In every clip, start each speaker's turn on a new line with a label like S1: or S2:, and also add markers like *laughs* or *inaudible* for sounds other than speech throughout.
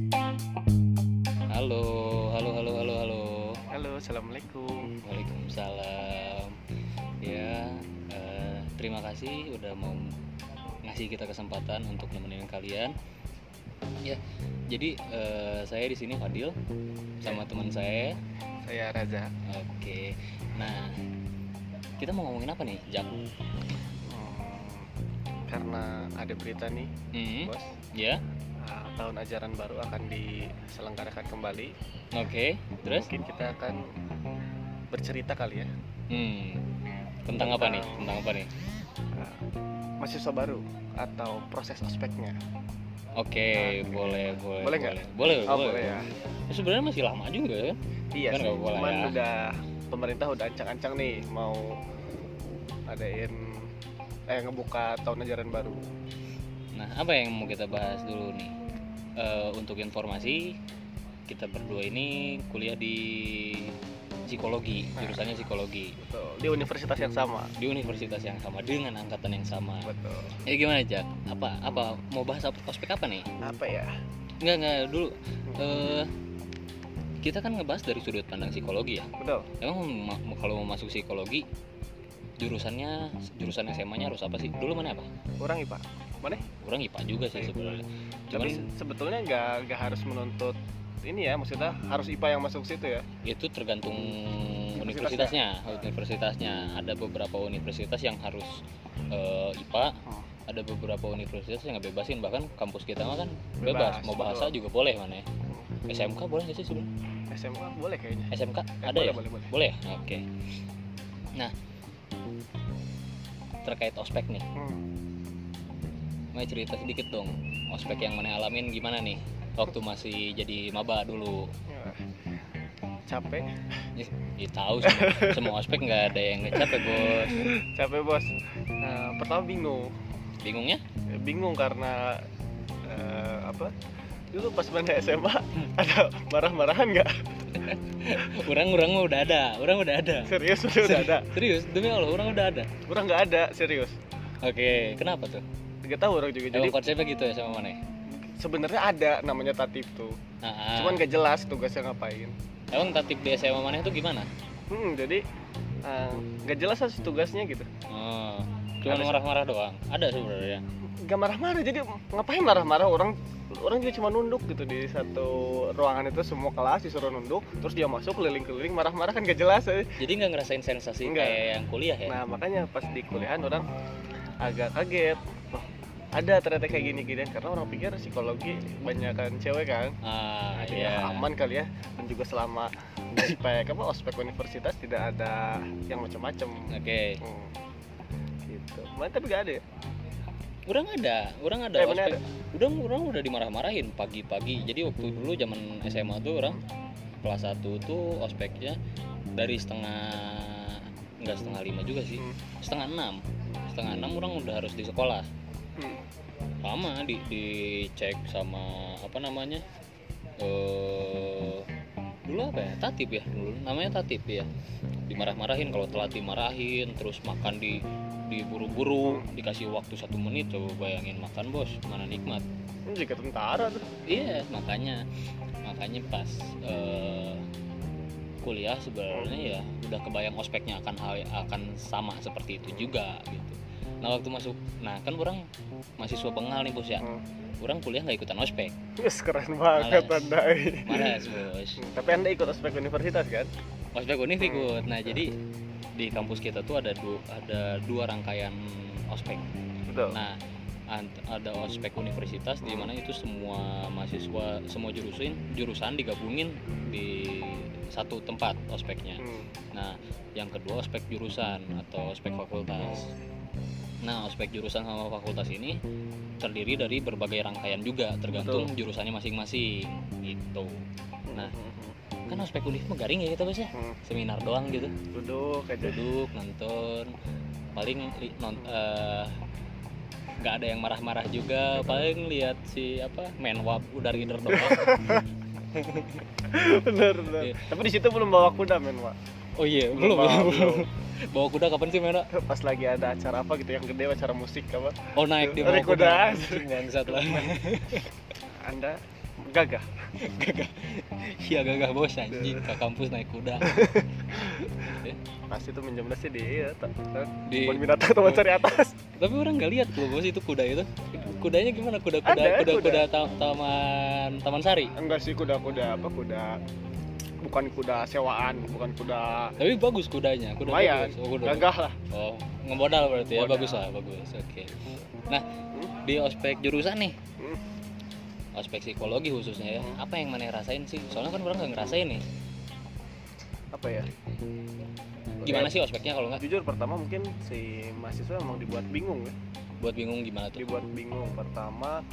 S1: Hmm.
S2: Ya, eh, kasih udah mau ngasih kita kesempatan untuk nemenin kalian. Ya, jadi eh, saya di sini Fadil sama teman saya.
S1: Saya Raza.
S2: Oke. Nah, kita mau ngomongin apa nih, Jak?
S1: Hmm, karena ada berita nih,
S2: Hmm,
S1: Bos.
S2: ya.
S1: Ah, tahun ajaran baru akan diselenggarakan kembali.
S2: Oke. Terus?
S1: Mungkin kita akan bercerita kali ya.
S2: Hmm. Tentang apa nih?
S1: Tentang-
S2: Tentang apa nih?
S1: Ah, mahasiswa baru atau proses ospeknya.
S2: Oke,
S1: Oke.
S2: boleh, boleh,
S1: Boleh nggak?
S2: boleh,
S1: Oh,
S2: boleh.
S1: boleh ya.
S2: Ya, Sebenarnya masih lama juga kan?
S1: Iya
S2: Kan
S1: sih.
S2: nggak boleh
S1: Cuman
S2: ya.
S1: udah pemerintah udah ancang-ancang nih mau adain eh ngebuka tahun ajaran baru.
S2: Nah, apa yang mau kita bahas dulu nih? Eh, untuk informasi, kita berdua ini kuliah di psikologi,
S1: Nah.
S2: jurusannya psikologi
S1: Betul. Di universitas yang sama.
S2: di universitas yang sama dengan angkatan yang sama.
S1: Betul.
S2: Eh gimana Jak? Apa apa mau bahas apa- ospek apa nih?
S1: Apa ya?
S2: Enggak enggak dulu. Eh, kita kan ngebahas dari sudut pandang psikologi ya.
S1: Betul.
S2: Emang ma- kalau mau masuk psikologi jurusannya jurusan SMA-nya harus apa sih? Dulu mana apa?
S1: Kurang IPA. Mana?
S2: Kurang IPA juga sih sebenarnya. Cuman
S1: Tapi se- sebetulnya nggak nggak harus menuntut ini ya maksudnya harus IPA yang masuk situ ya.
S2: itu tergantung universitasnya
S1: Universitasnya.
S2: universitasnya ada beberapa universitas yang harus eh, IPA
S1: Hmm.
S2: ada beberapa universitas yang nggak bebasin bahkan kampus kita mah kan bebas,
S1: Bebas,
S2: mau bahasa
S1: betul.
S2: juga boleh mana ya SMK boleh nggak sih sebenarnya
S1: SMA boleh kayaknya.
S2: SMK
S1: Eh,
S2: ada
S1: boleh,
S2: ya
S1: boleh boleh.
S2: boleh ya? oke nah terkait ospek nih
S1: Hmm.
S2: mau cerita sedikit dong ospek yang mana alamin gimana nih waktu masih jadi maba dulu
S1: Ya. Capek,
S2: ya, tahu
S1: *laughs*
S2: semua, semua ospek nggak ada yang nggak capek bos
S1: capek bos. Nah, pertama bingung,
S2: bingungnya
S1: bingung karena eh, apa? Dulu pas main SMA *laughs* ada marah-marahan nggak?
S2: Orang orang mah udah ada, orang udah ada.
S1: Serius udah udah ada.
S2: Serius, demi Allah, orang udah ada.
S1: Kurang nggak ada, serius.
S2: Oke, kenapa tuh?
S1: Gak tahu orang juga. Jadi
S2: Emang konsepnya gitu ya sama mana? ya?
S1: sebenarnya ada namanya tatip tuh.
S2: Ah, ah.
S1: Cuman gak jelas tugasnya ngapain.
S2: emang tatip di SMA mana itu gimana?
S1: Hmm, jadi eh, nggak jelas lah sih tugasnya gitu.
S2: Oh, cuman
S1: Ada sih.
S2: marah-marah doang. Ada sebenarnya.
S1: Gak marah-marah, jadi ngapain marah-marah orang orang juga cuma nunduk gitu di satu ruangan itu semua kelas disuruh nunduk, terus dia masuk keliling-keliling marah-marah kan gak jelas. eh.
S2: Jadi nggak ngerasain sensasi
S1: Nggak.
S2: kayak yang kuliah ya?
S1: Nah makanya pas di kuliahan orang agak kaget. Wah, ada ternyata kayak gini gini karena orang pikir psikologi banyak kan cewek kan.
S2: ah,
S1: Jadi
S2: iya.
S1: aman kali ya dan juga selama di PK apa ospek universitas tidak ada yang macam-macam.
S2: Oke,
S1: Hmm. Gitu. Mana tapi gak ada ya?
S2: orang ada, orang ada.
S1: Eh, mana
S2: ospek. Udah, orang udah dimarah-marahin pagi-pagi. Jadi waktu
S1: Hmm.
S2: dulu zaman SMA tuh orang kelas 1 tuh ospeknya dari setengah enggak setengah lima juga sih,
S1: Hmm.
S2: setengah enam. Setengah enam orang udah harus di sekolah.
S1: Hmm.
S2: Lama di dicek sama apa namanya? Eh dulu apa ya? Tatip ya dulu. Namanya Tatip ya. Dimarah-marahin kalau telat dimarahin, terus makan di diburu-buru, dikasih waktu satu menit coba bayangin makan bos, mana nikmat.
S1: Ini juga tentara tuh.
S2: Iya, makanya makanya pas eh, kuliah sebenarnya ya udah kebayang ospeknya akan hal akan sama seperti itu juga gitu. Nah waktu masuk, nah kan orang mahasiswa bengal nih bos ya,
S1: Hmm.
S2: orang kuliah nggak ikutan ospek,
S1: Yes, keren banget
S2: Males.
S1: Anda ini.
S2: malas bos.
S1: Hmm, Tapi Anda ikut ospek universitas kan?
S2: Ospek univ ikut. Nah jadi di kampus kita tuh ada dua ada dua rangkaian ospek.
S1: Betul.
S2: Nah ant- ada ospek universitas di mana itu semua mahasiswa semua jurusan jurusan digabungin di satu tempat ospeknya.
S1: Hmm.
S2: Nah, yang kedua ospek jurusan atau ospek fakultas. Nah, ospek jurusan sama fakultas ini terdiri dari berbagai rangkaian juga tergantung jurusannya masing-masing gitu. Nah. Kan ospek univ mah garing ya kita biasanya
S1: Hmm.
S2: seminar doang gitu.
S1: duduk aja.
S2: *laughs* Duduk nonton paling li- non eh, nggak ada yang marah-marah juga paling lihat si apa menwab udar gider doang
S1: bener, bener.
S2: Iya.
S1: Tapi di situ belum bawa kuda men, Wak.
S2: *laughs* oh iya belum ya
S1: bawa,
S2: belum bawa kuda kapan sih Mera?
S1: belum. Pas lagi ada acara apa gitu yang gede, acara musik apa.
S2: oh naik di
S1: Naik
S2: bawah
S1: kuda.
S2: bangsat lah
S1: Anda gagah
S2: *laughs* Iya gagah bos anjing ke kampus naik kuda.
S1: pasti tuh minjem sih di ya,
S2: Di Oh.
S1: kebun binatang teman cari atas
S2: tapi orang nggak lihat loh bos itu kuda itu. Kudanya gimana kuda-kuda
S1: Ada,
S2: kuda-kuda ta- taman Taman Sari.
S1: enggak sih kuda-kuda apa kuda bukan kuda sewaan bukan kuda
S2: Tapi bagus kudanya, kuda
S1: Lumayan,
S2: bagus. Oh, kuda bagus.
S1: gagah lah
S2: Oh, ngemodal berarti ya.
S1: Modal.
S2: Bagus lah, bagus. Oke. Nah, di ospek jurusan nih.
S1: Hmm.
S2: Ospek psikologi khususnya ya. Apa yang mana rasain sih? Soalnya kan orang nggak ngerasain nih.
S1: apa ya
S2: Gimana sih ospeknya kalau
S1: Ya,
S2: nggak
S1: jujur pertama mungkin si mahasiswa emang dibuat bingung ya
S2: buat bingung gimana tuh?
S1: dibuat bingung pertama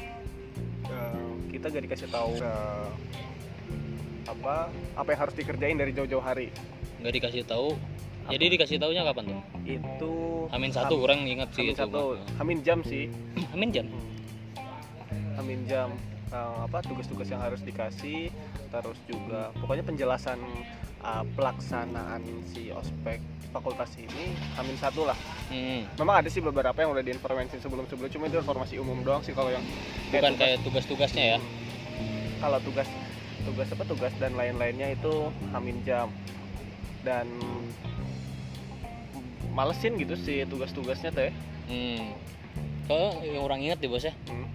S1: eh, kita gak dikasih tahu eh, apa apa yang harus dikerjain dari jauh-jauh hari
S2: Nggak dikasih tahu. Jadi dikasih taunya kapan tuh?
S1: itu
S2: Amin satu,
S1: Am-
S2: orang ingat sih
S1: hamin
S2: itu. Hmm.
S1: satu hamin jam sih
S2: *clears throat* Amin jam.
S1: hamin jam eh, apa tugas-tugas yang harus dikasih terus juga pokoknya penjelasan eh, pelaksanaan si ospek fakultas ini hamin satu lah
S2: Hmm.
S1: memang ada sih beberapa yang udah diinformasi sebelum-sebelum cuma itu informasi umum doang sih kalau yang
S2: Bukan
S1: tugas- Hmm.
S2: kayak tugas-tugasnya ya.
S1: kalau tugas tugas apa tugas dan lain-lainnya itu hamin jam dan malesin gitu sih tugas-tugasnya teh
S2: Hmm. Kalau yang orang ingat deh bos ya.
S1: Hmm,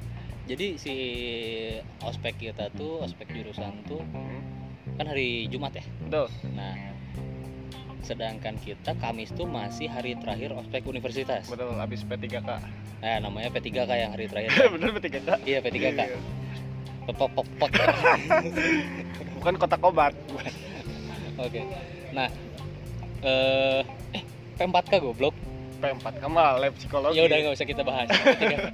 S2: Jadi si ospek kita tuh, ospek jurusan tuh
S1: hmm.
S2: kan hari Jumat ya.
S1: betul
S2: Nah, sedangkan kita Kamis tuh masih hari terakhir ospek universitas.
S1: betul abis P3K
S2: Nah, namanya P3K yang hari terakhir.
S1: *laughs* bener P3K
S2: iya, P3K.
S1: Iya.
S2: Pepok pok pok.
S1: bukan kotak obat
S2: *laughs* Oke. Nah, eh eh, P4K goblok.
S1: P4 kamu lah lab psikologi
S2: Ya udah nggak usah kita bahas. P3K.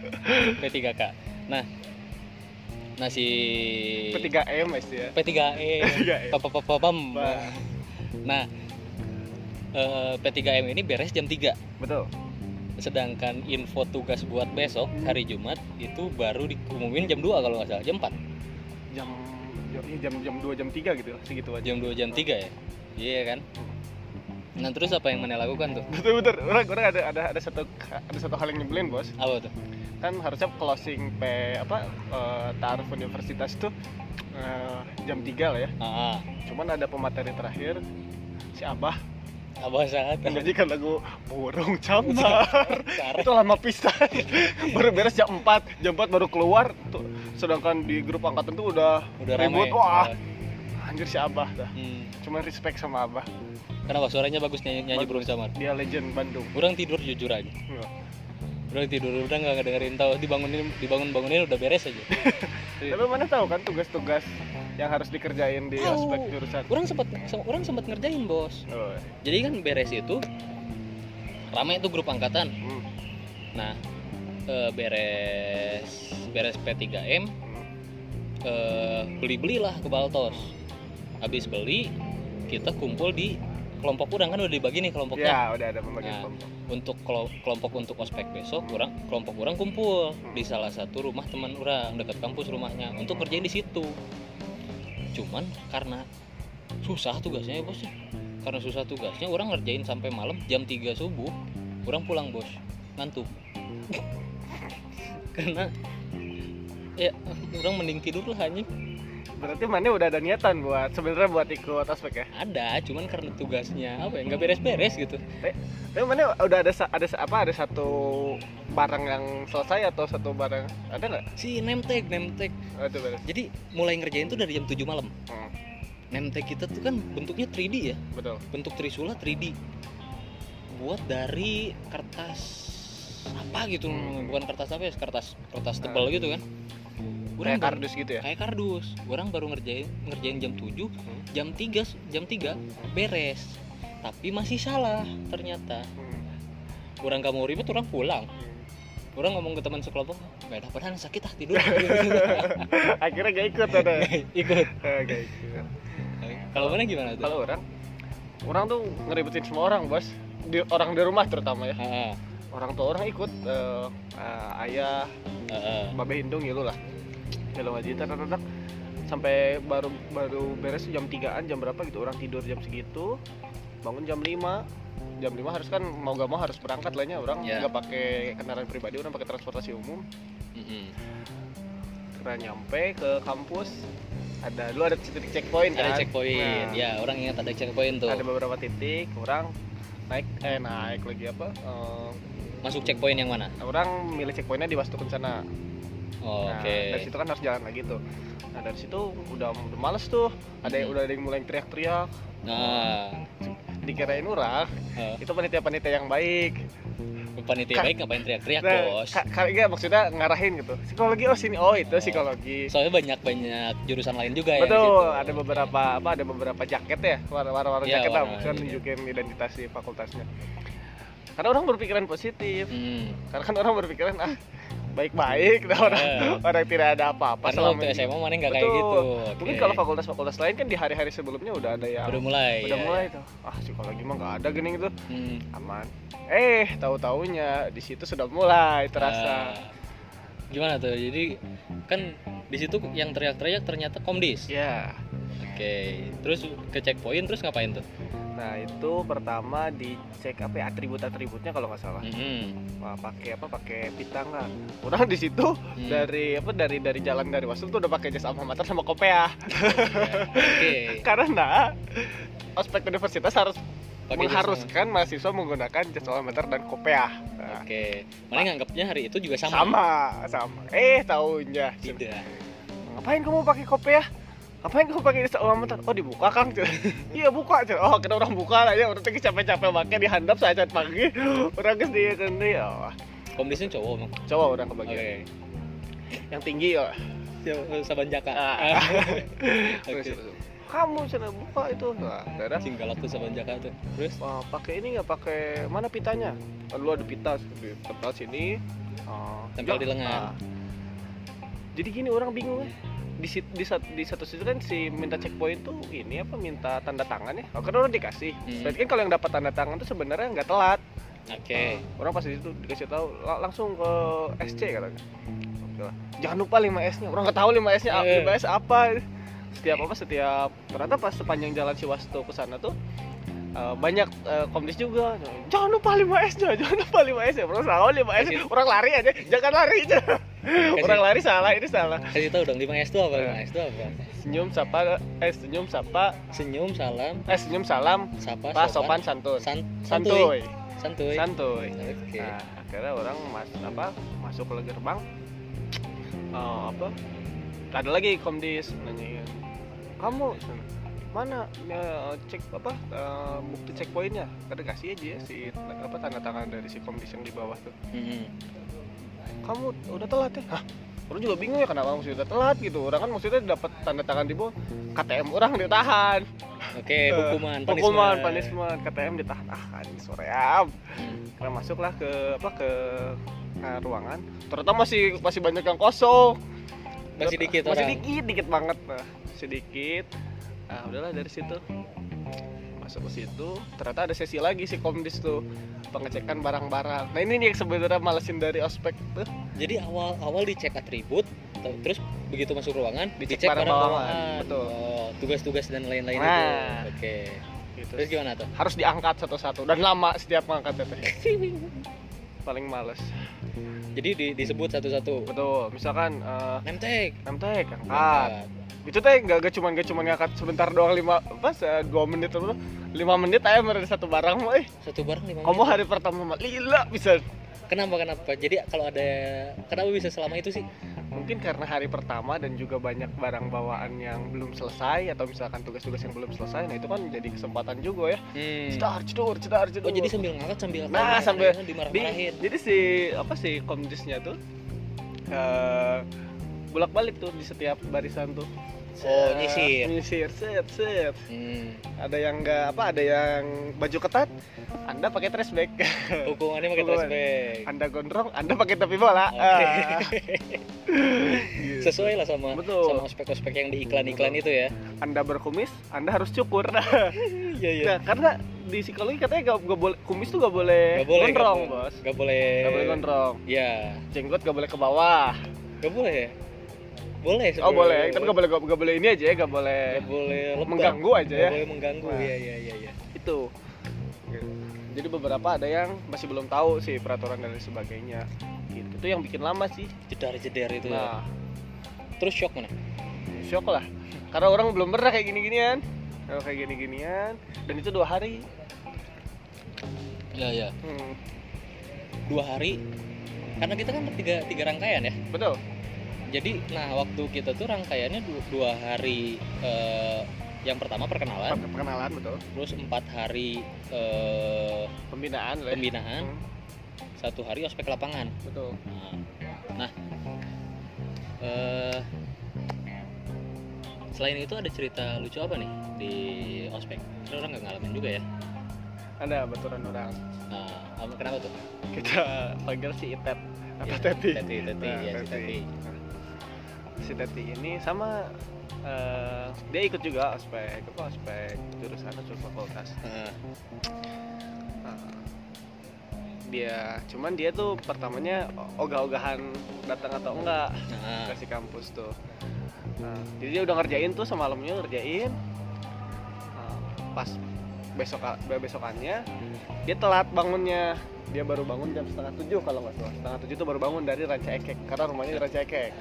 S2: P3K. Nah, nah si E.
S1: P3M sih
S2: Iya.
S1: ya
S2: P3E.
S1: P3M
S2: Papapapam.
S1: Bah.
S2: Nah, eh, P3M ini beres jam 3
S1: betul
S2: sedangkan info tugas buat besok hari Jumat itu baru diumumin jam 2 kalau nggak salah jam 4
S1: jam jam jam jam dua jam tiga gitu lah segitu aja
S2: jam 2 jam 3 ya iya kan nah terus apa yang mana lakukan tuh
S1: betul betul orang orang ada ada ada satu ada satu hal yang nyebelin bos
S2: apa tuh
S1: kan harusnya closing P apa eh, tarif universitas tuh eh, jam 3 lah ya.
S2: ah ah.
S1: Cuman ada pemateri terakhir si Abah
S2: abah saat
S1: menyajikan lagu burung cambar.
S2: Parah.
S1: Itu lama pisan. *laughs* baru beres jam 4, jam 4 baru keluar tuh. Sedangkan di grup angkatan tuh udah,
S2: udah ramai
S1: ribut. Wah, anjir si Abah dah.
S2: hmm.
S1: Cuman respect sama Abah.
S2: kenapa suaranya bagus nyanyi nyanyi
S1: Bagus.
S2: burung samar
S1: Dia legend Bandung.
S2: kurang tidur jujur aja
S1: Iya.
S2: kurang tidur udah nggak ngedengerin tahu dibangunin dibangun bangunin udah beres aja
S1: Tapi mana tahu kan tugas-tugas yang harus dikerjain di
S2: Tahu.
S1: aspek jurusan.
S2: orang sempat orang sempat ngerjain bos
S1: Oh,
S2: jadi kan beres itu ramai tuh grup angkatan
S1: hmm,
S2: Nah, eh, beres beres P3M
S1: hmm.
S2: eh, beli-belilah ke Baltos. Habis beli, kita kumpul di kelompok kurang kan udah dibagi nih kelompoknya.
S1: Ya, udah ada pembagian
S2: Nah.
S1: kelompok.
S2: Untuk kelo- kelompok untuk ospek besok kurang kelompok kurang kumpul di salah satu rumah teman orang dekat kampus rumahnya untuk kerjain di situ. Cuman karena susah tugasnya ya bos ya. Karena susah tugasnya orang ngerjain sampai malam jam 3 subuh, orang pulang bos ngantuk. *laughs* karena ya orang mending tidur lah anjing.
S1: Berarti Mane udah ada niatan buat sebenarnya buat ikut aspek ya.
S2: Ada, cuman karena tugasnya apa ya nggak beres-beres gitu.
S1: Tapi Mane udah ada sa- ada sa- apa ada satu barang yang selesai atau satu barang ada nggak?
S2: Si nemtek, nemtek.
S1: Oh, Itu beres.
S2: Jadi mulai ngerjain tuh dari jam 7 malam.
S1: Hmm,
S2: Nemtek kita tuh kan bentuknya 3D ya,
S1: betul.
S2: bentuk trisula 3D. Buat dari kertas apa gitu,
S1: Hmm.
S2: bukan kertas apa ya, kertas kertas tebal gitu kan. Orang
S1: Kayak
S2: baru-
S1: kardus gitu ya. Hmm.
S2: kayak kardus. Orang baru ngerjain ngerjain jam 7, jam 3 jam 3 beres. Tapi masih salah ternyata.
S1: Hmm, *laughs*
S2: Orang kamu ribet, orang pulang.
S1: hmm.
S2: orang ngomong ke teman sekelompok nggak ada padahal sakit ah
S1: *laughs*
S2: tidur *laughs*
S1: Akhirnya gak ikut ada.
S2: ikut
S1: Eh, gak ikut.
S2: kalau mana gimana tuh
S1: Kalau orang orang tuh ngeribetin semua orang, Bos. Di, orang di rumah terutama ya.
S2: Heeh,
S1: Orang tua orang ikut eh, eh, ayah,
S2: heeh.
S1: babe hindung ya lu lah ya lu ngaji tar, tar, tar. sampai baru baru beres jam 3an jam berapa gitu orang tidur jam segitu bangun jam 5 jam 5 harus kan mau gak mau harus berangkat lahnya orang
S2: Ya.
S1: nggak pakai kendaraan pribadi orang pakai transportasi umum
S2: Mm-mm.
S1: segera nyampe ke kampus ada dulu ada titik checkpoint
S2: ada
S1: kan?
S2: checkpoint
S1: Nah,
S2: ya orang ingat ada checkpoint tuh
S1: ada beberapa titik orang naik eh naik lagi apa eh,
S2: masuk checkpoint yang mana
S1: orang milih checkpointnya di Wastu Kencana
S2: Oh,
S1: Nah,
S2: oke
S1: dari situ kan harus jalan lagi tuh nah dari situ udah, udah males tuh ada yang
S2: Hmm.
S1: udah ada yang mulai teriak-teriak
S2: nah
S1: dikirain urah
S2: eh,
S1: itu panitia-panitia yang baik
S2: panitia
S1: Kak-
S2: baik ngapain teriak-teriak
S1: nah,
S2: Ya, bos
S1: ka- ka- enggak, maksudnya ngarahin gitu psikologi oh sini oh itu
S2: Oh.
S1: psikologi
S2: soalnya banyak banyak jurusan lain juga ya di
S1: betul
S2: situ.
S1: ada beberapa apa ada beberapa jaket ya warna-warna
S2: Iya,
S1: jaket lah
S2: warna-warni
S1: maksudnya
S2: jaket.
S1: nunjukin identitas di fakultasnya karena orang berpikiran positif
S2: Hmm.
S1: karena kan orang berpikiran ah baik-baik nah, orang
S2: Eh,
S1: *laughs* orang tidak ada apa-apa
S2: karena
S1: selama
S2: waktu
S1: ini.
S2: SMA mana nggak kayak
S1: Betul.
S2: gitu
S1: mungkin
S2: Oke.
S1: kalau fakultas-fakultas lain kan di hari-hari sebelumnya udah ada yang
S2: udah mulai
S1: udah
S2: ya.
S1: mulai tuh ah psikologi mah nggak ada gini gitu
S2: Hmm.
S1: aman eh tahu taunya di situ sudah mulai
S2: Nah,
S1: terasa
S2: gimana tuh jadi kan di situ yang teriak-teriak ternyata komdis
S1: ya
S2: oke terus ke checkpoint terus ngapain tuh
S1: nah itu pertama dicek apa ya, atribut-atributnya kalau nggak salah
S2: Mhm.
S1: Wah, pakai apa pakai pitang lah orang di situ
S2: Hmm.
S1: dari apa dari dari jalan dari wasul tuh udah pakai jas alma mater sama kopea
S2: oke
S1: *laughs* karena ospek universitas harus
S2: Pakai jas- eh.
S1: mengharuskan mahasiswa menggunakan jas alma mater dan kopea
S2: oke
S1: Nah,
S2: mana nganggapnya hari itu juga sama Iya.
S1: sama sama eh taunya
S2: tidak
S1: ngapain kamu pakai kopea ngapain kamu pakai jas alma mater oh dibuka kang iya buka Cen. oh kena orang buka lah ya orang tadi capek-capek pakai dihandap saat pagi *gasps* orang kesini kesini oh,
S2: komdisnya cowok emang
S1: coba orang
S2: oke
S1: kebagian yang tinggi ya
S2: Siapa- Sabanjaka
S1: Ah.
S2: *laughs*
S1: *laughs*
S2: oke
S1: kamu sana buka itu nah, daerah
S2: Cing galak tuh Sabanjaka tuh terus
S1: eh, pakai ini nggak pakai mana pitanya Eh, lu ada pita di tempat sini eh,
S2: Tempel
S1: ya,
S2: di lengan.
S1: ah. jadi gini orang bingung ya di, sit- di, sat- di satu situ kan si minta checkpoint tuh ini apa minta tanda tangan ya oh, karena orang dikasih
S2: Hmm.
S1: berarti kan kalau yang dapat tanda tangan tuh sebenarnya nggak telat
S2: oke
S1: orang pas di situ dikasih tahu la- langsung ke SC katanya Oke lah. jangan lupa 5 S nya orang nggak tahu 5 S nya
S2: Iya.
S1: 5 S apa setiap apa setiap ternyata pas sepanjang jalan Siwasto ke sana tuh eh, banyak eh, komdis juga jangan lupa 5 S nya *laughs* jangan lupa 5 S nya orang salah 5 S -nya. orang lari aja jangan lari aja Ah. orang lari salah ini salah
S2: kasih tahu dong 5 S itu apa 5
S1: Eh.
S2: S itu apa
S1: senyum sapa eh senyum sapa
S2: senyum salam
S1: eh senyum salam
S2: sapa
S1: pas sopan santun
S2: san santuy
S1: santuy
S2: santuy,
S1: santuy
S2: oke
S1: Nah, akhirnya orang mas apa masuk ke gerbang eh, apa ada lagi komdis nanyain kamu mana eh, cek apa eh, bukti checkpointnya Kata kasih aja ya si apa tanda tangan dari si komdis yang di bawah tuh
S2: Mhm.
S1: kamu udah telat ya Hah? orang juga bingung ya kenapa mesti udah telat gitu orang kan maksudnya dapat tanda tangan di bawah KTM orang ditahan
S2: Oke, hukuman, punishment.
S1: hukuman punishment KTM ditahan ah anjing sore am
S2: Mm.
S1: Nah, masuklah ke apa ke, ke ruangan. Ternyata masih masih banyak yang kosong.
S2: Masih dikit
S1: Masih
S2: orang.
S1: dikit, dikit banget. Nah, sedikit. Nah, udahlah dari situ. Masuk ke situ, ternyata ada sesi lagi si Komdis tuh pengecekan barang-barang. Nah, ini nih yang sebenarnya malesin dari ospek tuh.
S2: Jadi awal awal dicek atribut, ter- terus begitu masuk ruangan
S1: Dicek
S2: dicek barang
S1: barang bawaan,
S2: bawaan.
S1: betul.
S2: Oh, tugas-tugas dan lain-lain
S1: Nah.
S2: itu. Oke. Terus
S1: Gitu.
S2: gimana tuh?
S1: Harus diangkat satu-satu dan lama setiap ngangkat teh. Paling males.
S2: *laughs* Jadi di- disebut satu-satu.
S1: Betul. Misalkan eh
S2: Nemtek.
S1: MTek angkat. itu teh nggak gak cuman gak cuman ngangkat sebentar doang lima pas dua menit atau lima menit aja mereka satu barang mah eh
S2: Satu barang lima
S1: kamu
S2: menit.
S1: hari pertama mah lila bisa
S2: Kenapa kenapa? Jadi kalau ada kenapa bisa selama itu sih?
S1: mungkin karena hari pertama dan juga banyak barang bawaan yang belum selesai atau misalkan tugas-tugas yang belum selesai nah itu kan jadi kesempatan juga ya cedar cedar cedar
S2: Iya.
S1: cedar
S2: Oh, jadi sambil ngangkat sambil
S1: Nah, sambil- Di-
S2: dimarah-marahin.
S1: jadi si apa sih komdisnya tuh bolak balik tuh di setiap barisan tuh
S2: Oh,
S1: Set,
S2: nyisir.
S1: nyisir set set *laughs*
S2: Hmm.
S1: ada yang nggak apa ada yang baju ketat anda pakai trash bag *laughs*
S2: Hukumannya pakai trash
S1: Hukuman.
S2: bag.
S1: anda gondrong anda pakai topi bola
S2: Oke.
S1: Ah. Gitu.
S2: *laughs* Sesuai lah sama
S1: Betul.
S2: sama ospek-ospek yang di iklan-iklan itu ya.
S1: anda berkumis anda harus cukur *laughs* nah,
S2: Iya iya.
S1: karena di psikologi katanya gak, boleh kumis tuh gak boleh,
S2: Gak boleh
S1: gondrong
S2: gak boleh.
S1: bos
S2: Gak boleh.
S1: gak boleh gondrong
S2: Ya,
S1: jenggot gak boleh ke bawah
S2: gak boleh. ya? Boleh.
S1: oh
S2: sebenarnya.
S1: boleh tapi gak boleh gak, boleh ini aja ya gak boleh
S2: Gak boleh lebam.
S1: mengganggu aja
S2: Gak
S1: ya
S2: boleh mengganggu.
S1: Nah.
S2: Iya iya iya. iya.
S1: itu jadi beberapa ada yang masih belum tahu sih peraturan dan lain sebagainya gitu itu yang bikin lama sih
S2: Jedar jedar itu. ya.
S1: Nah,
S2: terus shock mana
S1: Syok lah. Karena orang belum pernah kayak gini-ginian. Kalau kayak gini-ginian dan itu dua hari.
S2: ya ya
S1: Hmm,
S2: dua hari karena kita kan tiga tiga rangkaian ya
S1: betul.
S2: jadi nah waktu kita tuh rangkaiannya du- dua, hari eh, yang pertama perkenalan
S1: Per- Perkenalan betul.
S2: terus empat hari eh,
S1: Pembinaan lah. ya.
S2: pembinaan
S1: Hmm,
S2: satu hari ospek lapangan
S1: betul.
S2: Nah, nah eh, selain itu ada cerita lucu apa nih di ospek? Kan orang nggak ngalamin juga ya.
S1: Ada baturan orang.
S2: Nah, apa- kenapa tuh?
S1: Kita panggil si Itet.
S2: Ya,
S1: Apa Teti?
S2: Teti, teti,
S1: Nah,
S2: ya si
S1: Teti.
S2: teti.
S1: Si Teti ini sama eh, dia ikut juga ospek apa ospek jurusan atau fakultas
S2: Heeh.
S1: Nah, dia cuman dia tuh pertamanya ogah-ogahan datang atau enggak
S2: nah,
S1: ke si kampus tuh Nah, jadi dia udah ngerjain tuh semalamnya ngerjain Nah, pas besok besokannya dia telat bangunnya dia baru bangun jam setengah tujuh kalau nggak salah setengah tujuh tuh baru bangun dari Ranca Ekek karena rumahnya di Ranca Ekek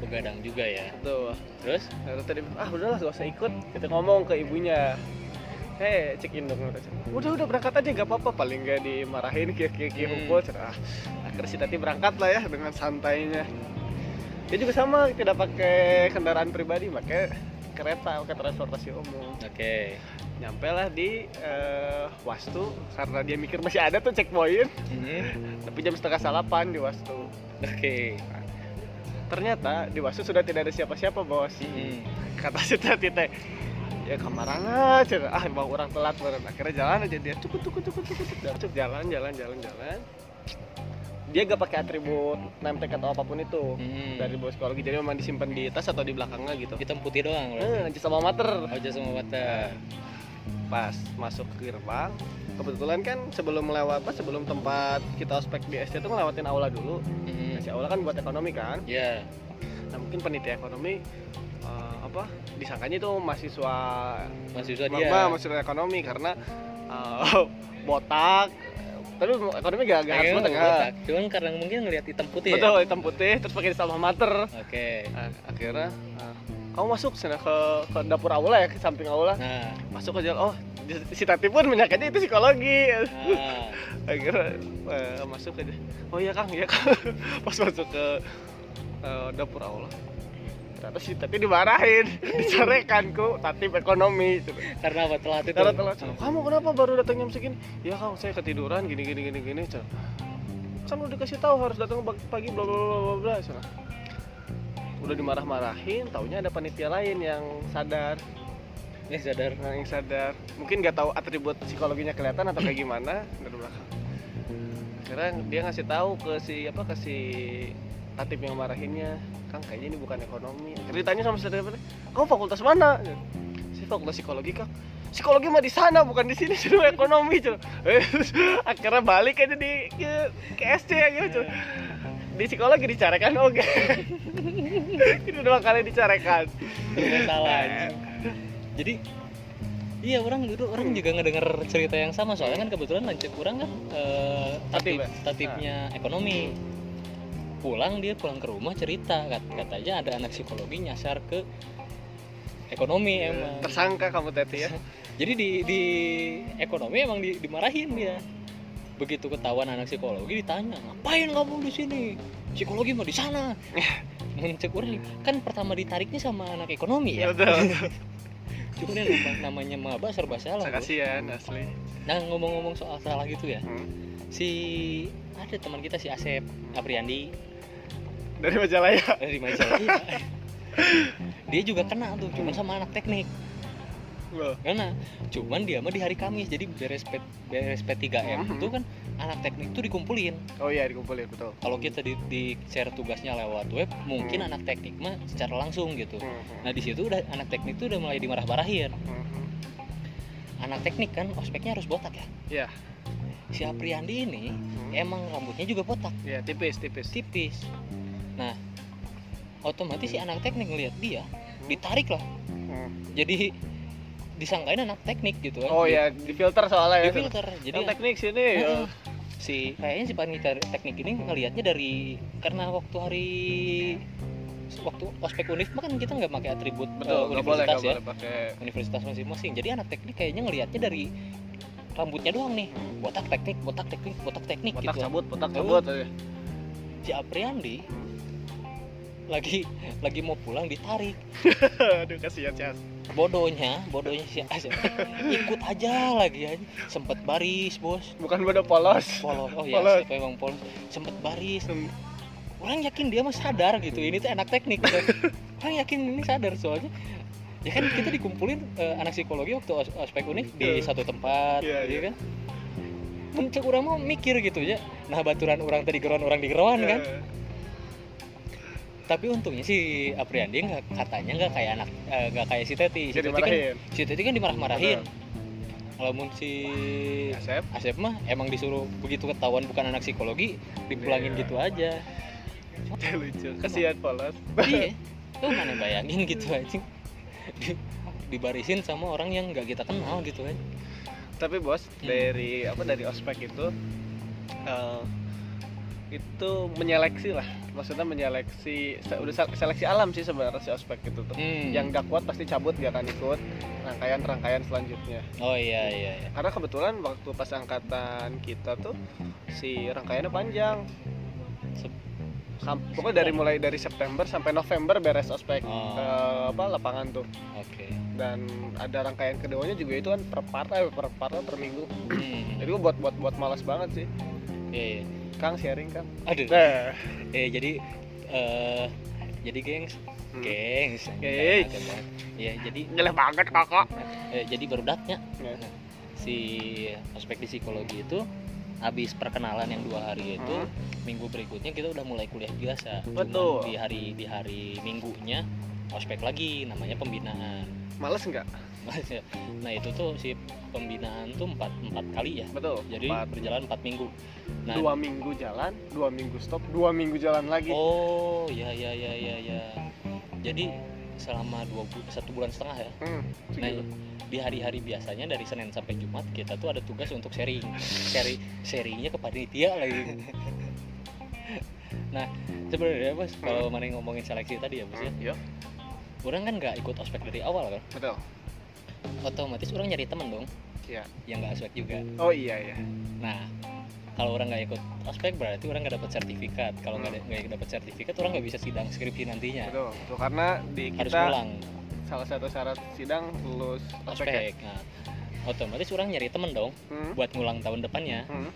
S2: begadang juga ya.
S1: tuh
S2: Terus?
S1: Lalu tadi ah udahlah gak usah ikut. Kita ngomong ke ibunya. Eh cek in dong kata. Udah udah berangkat aja gak apa-apa paling gak dimarahin kia kia kia
S2: Hmm.
S1: hukum. Ah, akhirnya si Tati berangkat lah ya dengan santainya. Dia juga sama tidak pakai kendaraan pribadi, pakai kereta, pakai transportasi umum.
S2: Oke.
S1: Nyampe lah di eh, Wastu karena dia mikir masih ada tuh checkpoint.
S2: Mhm.
S1: Tapi jam setengah salapan di Wastu.
S2: Oke.
S1: Ternyata di Wastu sudah tidak ada siapa-siapa bos.
S2: Mhm.
S1: kata si tati teh ya kamarana cina ah emang orang telat bareng akhirnya jalan aja dia cukup cukup cukup cukup cukup cukup jalan jalan jalan jalan dia gak pakai atribut name tag atau apapun itu
S2: Mhm.
S1: dari bos psikologi jadi memang disimpan di tas atau di belakangnya gitu
S2: Hitam putih doang loh.
S1: eh, aja sama mater
S2: Aja sama mata.
S1: pas masuk ke gerbang kebetulan kan sebelum melewat apa sebelum tempat kita ospek di SD tuh ngelewatin aula dulu
S2: Mhm.
S1: si aula kan buat ekonomi kan
S2: Ya.
S1: nah mungkin penitia ekonomi eh, apa disangkanya itu mahasiswa
S2: Mahasiswa dia.
S1: Mama maksudnya ekonomi karena uh, *laughs* botak tapi ekonomi gak, gak harus
S2: Kayaknya
S1: botak
S2: nggak
S1: ya.
S2: botak. Cuman karena mungkin ngelihat hitam putih. ya?
S1: betul hitam putih terus pakai sama mater
S2: Oke.
S1: Nah, akhirnya uh, kamu masuk sana ke, ke dapur aula ya ke samping aula
S2: Nah,
S1: masuk aja oh di- si tati pun menyangkanya itu psikologi
S2: nah.
S1: akhirnya uh, masuk aja oh iya kang iya kang *laughs* pas masuk ke uh, dapur aula ternyata si tati dimarahin *laughs* dicerekan ku tati ekonomi gitu.
S2: karena apa telat itu?
S1: Karena telat. Kamu kenapa baru datang jam segini? Ya kang, saya ketiduran gini gini gini gini. Cel. Kan udah dikasih tahu harus datang pag- pagi bla bla bla bla bla. Cel. Udah dimarah-marahin, taunya ada panitia lain yang sadar,
S2: Ini sadar.
S1: Nah, yang sadar. Mungkin nggak tahu atribut psikologinya kelihatan atau kayak gimana dari belakang. Akhirnya dia ngasih tahu ke si apa ke si tatip yang marahinnya, Kang kayaknya ini bukan ekonomi. Ceritanya sama si tatip apa? Kamu fakultas mana? Saya fakultas psikologi kang. Psikologi mah di sana bukan di sini suruh ekonomi cuy. Eh, *laughs* Akhirnya balik aja di ke, ke SC aja cuy. gitu, Di psikologi dicarekan oke. *laughs* Ini dua kali dicarekan.
S2: Ternyata salah. anjing. Jadi Iya orang dulu orang juga ngedenger cerita yang sama soalnya kan kebetulan lancip orang kan eh, tatip,
S1: Tatip, ya?
S2: tatipnya ekonomi pulang dia pulang ke rumah cerita kat, katanya ada anak psikologi nyasar ke ekonomi
S1: Iya.
S2: Iya, emang
S1: Tersangka kamu Teti ya.
S2: jadi di di ekonomi emang di- dimarahin dia begitu ketahuan anak psikologi ditanya ngapain kamu di sini psikologi mah di sana mencek orang kan pertama ditariknya sama anak ekonomi ya
S1: Betul.
S2: cuman yang nama- namanya maba serba salah
S1: Saya
S2: bro.
S1: kasihan asli.
S2: nah ngomong-ngomong soal salah gitu ya
S1: Hmm.
S2: si ada teman kita si Asep Apriandi
S1: Dari ya? Majalaya.
S2: dari
S1: *laughs*
S2: Majalaya dia juga kena tuh cuman sama anak teknik
S1: Loh.
S2: karena cuman dia mah di hari Kamis jadi beres P, beres P3M
S1: Mhm.
S2: itu kan anak teknik tuh dikumpulin
S1: Oh iya dikumpulin betul.
S2: kalau kita di, di share tugasnya lewat web mungkin
S1: Hmm.
S2: anak teknik mah secara langsung gitu
S1: Hmm.
S2: nah di situ udah anak teknik tuh udah mulai dimarah-marahin
S1: Hmm.
S2: anak teknik kan ospeknya harus botak ya
S1: Iya.
S2: si Apriandi ini
S1: Hmm.
S2: emang rambutnya juga botak
S1: Iya tipis tipis.
S2: tipis nah otomatis si anak teknik ngelihat dia ditarik lah
S1: Hmm.
S2: jadi disangkain anak teknik gitu kan
S1: Oh
S2: Di-
S1: iya di filter soalnya
S2: di
S1: ya.
S2: filter jadi Hmm,
S1: Yang teknik sini. ya.
S2: Heeh. si kayaknya si panitia teknik ini ngelihatnya dari karena waktu hari waktu ospek univ mah kan kita nggak pakai atribut eh,
S1: betul nggak boleh
S2: universitas
S1: nggak
S2: ya
S1: boleh pakai
S2: universitas masing-masing jadi anak teknik kayaknya ngelihatnya dari rambutnya doang nih botak teknik botak teknik botak teknik
S1: botak
S2: gitu
S1: cabut botak
S2: Cabut.
S1: cabut aja.
S2: si Apriandi lagi lagi mau pulang ditarik
S1: aduh kasihan sih
S2: bodohnya bodohnya si Asep
S1: *laughs*
S2: ikut aja lagi aja sempet baris bos
S1: bukan bodoh polos
S2: polos oh ya
S1: Polos.
S2: Asep emang polos sempet baris
S1: Hmm.
S2: orang yakin dia mah sadar gitu ini tuh anak teknik kan.
S1: *laughs*
S2: orang yakin ini sadar soalnya ya kan kita dikumpulin eh, anak psikologi waktu os- ospek unik di
S1: Iya.
S2: satu tempat ya
S1: Iya, iya.
S2: kan Mencek orang mau mikir gitu ya nah baturan orang tadi geron orang di geron kan
S1: Eh,
S2: tapi untungnya si Apriandi nggak katanya nggak kayak anak eh, nggak kayak si Teti si
S1: jadi
S2: Teti kan
S1: marahin
S2: si Teti kan dimarah-marahin walaupun si Iya.
S1: Asep
S2: Asep mah emang disuruh begitu ketahuan bukan anak psikologi dipulangin
S1: Iya.
S2: gitu
S1: *laughs*
S2: aja
S1: lucu kasihan polos
S2: iya tuh mana bayangin gitu aja Di- dibarisin sama orang yang nggak kita kenal gitu kan
S1: tapi bos
S2: Hmm.
S1: dari apa dari ospek itu eh, itu menyeleksi lah maksudnya menyeleksi se- udah se- seleksi alam sih sebenarnya si ospek itu tuh
S2: Hmm.
S1: yang gak kuat pasti cabut gak akan ikut rangkaian-rangkaian selanjutnya
S2: oh iya iya iya.
S1: karena kebetulan waktu pas angkatan kita tuh si rangkaiannya panjang
S2: Sep-
S1: Sam- pokoknya dari mulai dari September sampai November beres ospek
S2: Oh.
S1: ke apa lapangan tuh
S2: oke
S1: dan ada rangkaian keduanya juga itu kan per part eh, per part per minggu
S2: Hmm.
S1: jadi gue buat buat buat malas banget sih
S2: Iya, iya.
S1: Kang sharing Kang
S2: aduh
S1: nah
S2: eh jadi eh jadi gengs
S1: Hmm.
S2: gengs
S1: Gengs.
S2: Jangan, jangan. Iya, jadi
S1: jelek banget kakak
S2: eh, jadi berudaknya
S1: Ya.
S2: si aspek di psikologi itu habis perkenalan yang dua hari itu
S1: Hmm.
S2: minggu berikutnya kita udah mulai kuliah biasa Cuman
S1: Betul.
S2: di hari di hari minggunya ospek lagi namanya pembinaan *laughs*
S1: males nggak
S2: nah itu tuh si pembinaan tuh empat empat kali ya
S1: betul
S2: jadi
S1: Empat.
S2: berjalan empat minggu nah
S1: dua minggu jalan dua minggu stop dua minggu jalan lagi
S2: oh ya ya ya ya ya jadi selama dua bu- satu bulan setengah ya
S1: Hmm,
S2: Nah,
S1: segitu.
S2: di hari-hari biasanya dari Senin sampai Jumat kita tuh ada tugas untuk sharing. Sharing sharingnya ke panitia lagi. nah, sebenarnya Bos, kalau mana yang ngomongin seleksi tadi ya Bos ya.
S1: Hmm, yuk.
S2: Orang kan nggak ikut ospek dari awal kan.
S1: betul
S2: Otomatis orang nyari temen dong.
S1: Iya.
S2: Yang nggak ospek juga.
S1: oh iya iya
S2: Nah, kalau orang nggak ikut ospek berarti orang nggak dapat sertifikat. Kalau nggak
S1: Hmm.
S2: ada- nggak dapat sertifikat orang nggak bisa sidang skripsi nantinya.
S1: betul betul karena di
S2: Iya. Harus
S1: kita
S2: pulang
S1: salah satu syarat sidang lulus ospek ya?
S2: ospek. Nah, otomatis orang nyari temen dong
S1: Hmm,
S2: buat ngulang tahun depannya.
S1: hmm.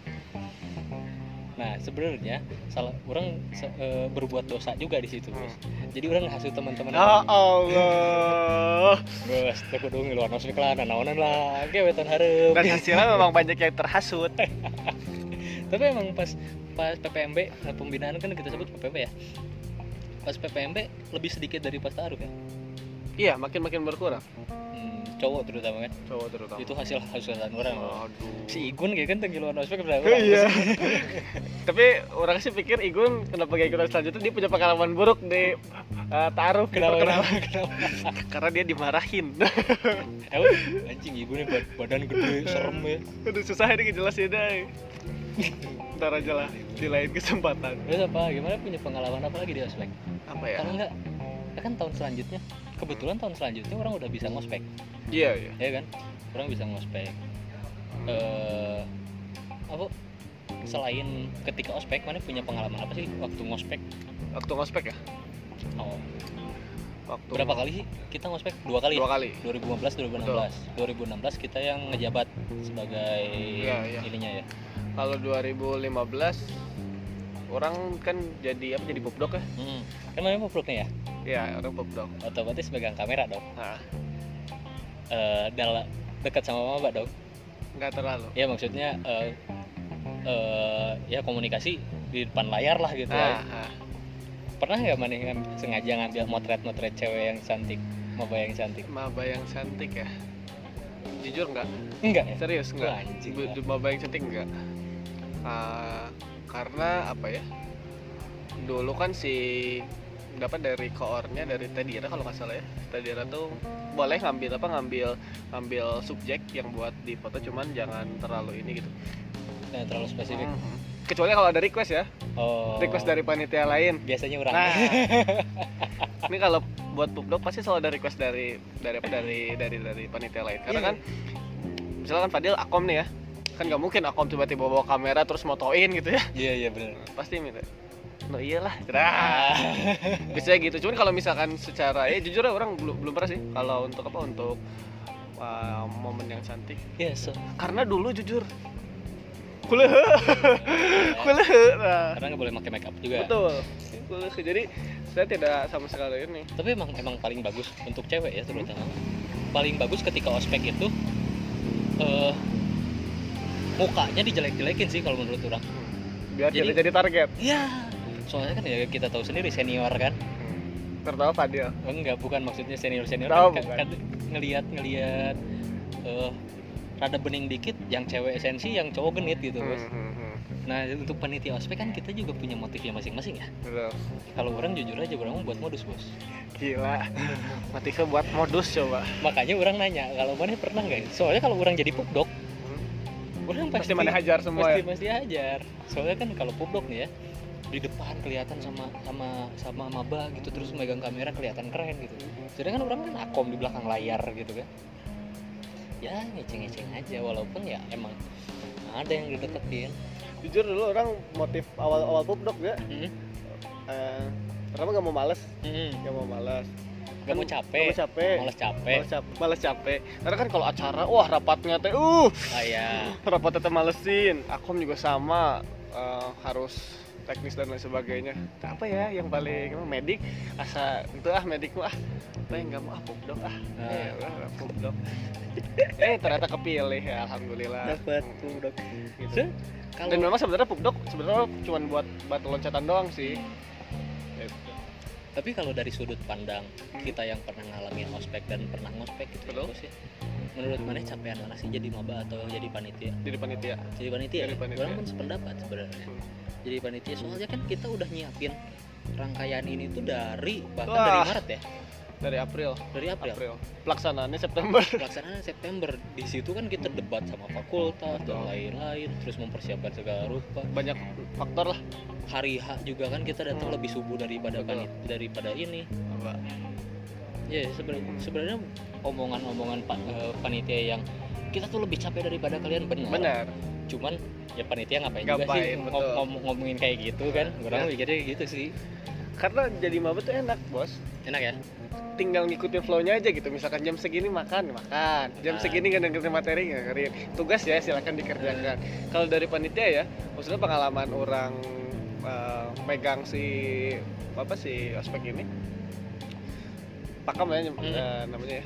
S2: Nah sebenarnya salah orang se- eh, berbuat dosa juga di situ bos. Jadi orang ngehasut teman-teman.
S1: Ya Allah.
S2: Bos, takut dong luar nosmik lah, nanaonan lah, kewetan hareup.
S1: Dan hasilnya memang banyak yang terhasut.
S2: *laughs* Tapi emang pas pas PPMB eh, pembinaan kan kita sebut PPMB ya. Pas PPMB lebih sedikit dari pas taruh ya.
S1: Iya, makin-makin berkurang.
S2: Hmm, cowok terutama kan.
S1: Cowok terutama.
S2: Itu hasil hasutan orang. loh.
S1: Aduh.
S2: Si Igun kayak kan tinggi luar nosmik berapa?
S1: Oh. Iya. *laughs* Tapi orang sih pikir Igun kenapa gak ikutan selanjutnya dia punya pengalaman buruk di eh, taruh
S2: *laughs* Kenapa?
S1: Kenapa?
S2: Kenapa? Kenapa?
S1: *laughs* Karena dia dimarahin. *laughs*
S2: Emang, anjing Igun bad- badan gede, serem ya.
S1: Aduh susah ini ngejelasin deh. Ntar aja lah di lain kesempatan.
S2: Terus apa? Gimana punya pengalaman apa lagi di ospek?
S1: Apa ya?
S2: Kalau enggak, ya kan tahun selanjutnya, kebetulan tahun selanjutnya orang udah bisa ngospek,
S1: Iya, iya.
S2: ya kan? Orang bisa ngospek.
S1: Hmm.
S2: Eh, apa? Selain ketika ospek, mana punya pengalaman apa sih waktu ngospek?
S1: Waktu ngospek ya?
S2: Oh,
S1: Waktu
S2: berapa kali sih kita ngospek? Dua kali.
S1: Dua
S2: ya?
S1: kali.
S2: 2015 2016. 2016 kita yang ngejabat sebagai
S1: Iya, iya.
S2: ininya ya.
S1: Kalau 2015 orang kan jadi apa jadi popdok ya?
S2: Hmm. Kan namanya pemeluknya ya.
S1: Iya, orang popdok.
S2: Otomatis megang kamera dong.
S1: Nah,
S2: Eh, dal- dekat sama maba dong.
S1: nggak terlalu.
S2: ya maksudnya eh eh, ya komunikasi di depan layar lah gitu
S1: Nah,
S2: lah. pernah nggak maneh ngam- sengaja ngambil motret motret cewek yang cantik maba yang cantik
S1: maba yang cantik ya. Jujur nggak?
S2: enggak ya
S1: Serius
S2: Wah,
S1: nggak?
S2: anjing
S1: Bu-
S2: lah.
S1: di Maba yang cantik nggak? Ah, karena apa ya? Dulu kan si dapat dari koornya dari Tadira kalau nggak salah ya. Tadira tuh boleh ngambil apa ngambil ngambil subjek yang buat di foto cuman jangan terlalu ini gitu.
S2: Nah, terlalu spesifik
S1: Mhm. Kecuali kalau ada request Nah. ya,
S2: oh
S1: request dari panitia lain.
S2: biasanya orang
S1: Nah, ini kalau buat pubdoc pasti selalu ada request dari dari dari dari dari panitia lain karena
S2: Iya.
S1: kan misalkan Fadil akom nih ya kan nggak mungkin akom tiba-tiba bawa kamera terus motoin gitu ya
S2: *laughs* Iya iya Ah. benar.
S1: pasti minta iya no iyalah
S2: *laughs*
S1: cerah biasanya Nah, gitu cuman kalau misalkan secara ya jujur ya orang belum belum pernah sih kalau untuk apa untuk uh, momen yang cantik
S2: Iya so.
S1: karena dulu jujur kulehe *laughs* kulehe nah,
S2: Karena nggak boleh pakai make up juga.
S1: betul kulehe jadi saya tidak sama sekali ini
S2: Tapi emang emang paling bagus untuk cewek ya terutama. Paling bagus ketika ospek itu eh mukanya dijelek-jelekin sih kalau menurut orang.
S1: biar
S2: Jadi-
S1: tidak jadi target
S2: Iya. Soalnya kan ya kita tahu sendiri senior kan.
S1: tertawa Fadil
S2: Enggak, bukan maksudnya senior senior
S1: Tahu,
S2: kan,
S1: bukan.
S2: kan- ngelihat ngelihat eh rada bening dikit yang cewek esensi yang cowok genit gitu
S1: Hmm,
S2: Bos.
S1: hmm, hmm.
S2: Nah untuk panitia ospek kan kita juga punya motifnya masing-masing ya.
S1: Betul.
S2: Kalau orang jujur aja orang buat modus bos.
S1: gila motifnya buat modus coba
S2: Makanya orang nanya kalau mana pernah nggak? Soalnya kalau orang jadi pubdok, orang
S1: Hmm.
S2: pasti
S1: pasti mana hajar semua
S2: pasti
S1: ya?
S2: pasti hajar. Soalnya kan kalau pubdok nih ya di depan kelihatan sama sama sama maba gitu terus megang kamera kelihatan keren gitu. Sedangkan orang kan akom di belakang layar gitu kan. Ya ngeceng-ngeceng aja walaupun ya emang ada yang dideketin.
S1: jujur dulu orang motif awal-awal pubdok ya
S2: Hmm.
S1: eh, pertama nggak mau males
S2: Hmm.
S1: nggak mau males
S2: Gak mau
S1: Kan-
S2: capek,
S1: nggak mau capek
S2: males capek.
S1: males capek males capek karena kan kalau acara wah rapatnya teh uh
S2: Ah ya.
S1: rapatnya teh malesin akom juga sama eh, harus teknis dan lain sebagainya Nah, apa ya yang paling emang medik asa itu ah medik mah ah apa yang nggak mau ah pubdok ah eh
S2: Nah,
S1: udah, udah, pubdok *laughs* eh ternyata kepilih ya alhamdulillah
S2: Dapat
S1: Hmm,
S2: pubdok.
S1: gitu.
S2: Se-
S1: dan
S2: Kalau
S1: memang sebenarnya pubdok sebenarnya cuma buat buat loncatan doang sih Gitu.
S2: tapi kalau dari sudut pandang kita yang pernah ngalamin ospek dan pernah ngospek gitu
S1: Betul.
S2: ya, sih menurut mana capean mana sih jadi maba atau jadi panitia
S1: jadi panitia
S2: jadi panitia,
S1: Jadi
S2: ya?
S1: panitia.
S2: orang pun sependapat sebenarnya
S1: Hmm.
S2: jadi panitia soalnya kan kita udah nyiapin rangkaian ini tuh dari bahkan
S1: Wah.
S2: dari Maret ya
S1: dari April
S2: dari April,
S1: April pelaksanaannya September *laughs*
S2: pelaksanaan September di situ kan kita debat sama fakultas dan
S1: Betul.
S2: lain-lain terus mempersiapkan segala rupa
S1: banyak faktor lah
S2: hari H juga kan kita datang
S1: Hmm.
S2: lebih subuh daripada
S1: Betul.
S2: panit daripada ini
S1: Iya.
S2: Ya
S1: Hmm.
S2: sebenarnya sebenarnya omongan-omongan pa- eh, panitia yang kita tuh lebih capek daripada kalian benar.
S1: benar
S2: Cuman ya panitia ngapain, juga sih
S1: Ngapain,
S2: ngom-
S1: betul.
S2: ngom- ngomongin kayak gitu kan.
S1: Ya.
S2: Orang mikirnya kayak gitu sih.
S1: karena jadi maba tuh enak bos
S2: Enak ya?
S1: tinggal ngikutin flow-nya aja gitu misalkan jam segini makan makan
S2: Makan.
S1: jam segini nggak dengerin materi nggak dengerin tugas ya silakan dikerjakan kalau dari panitia ya maksudnya pengalaman orang eh, megang si apa sih aspek ini pakam ya nyem-
S2: Hmm.
S1: eh, namanya ya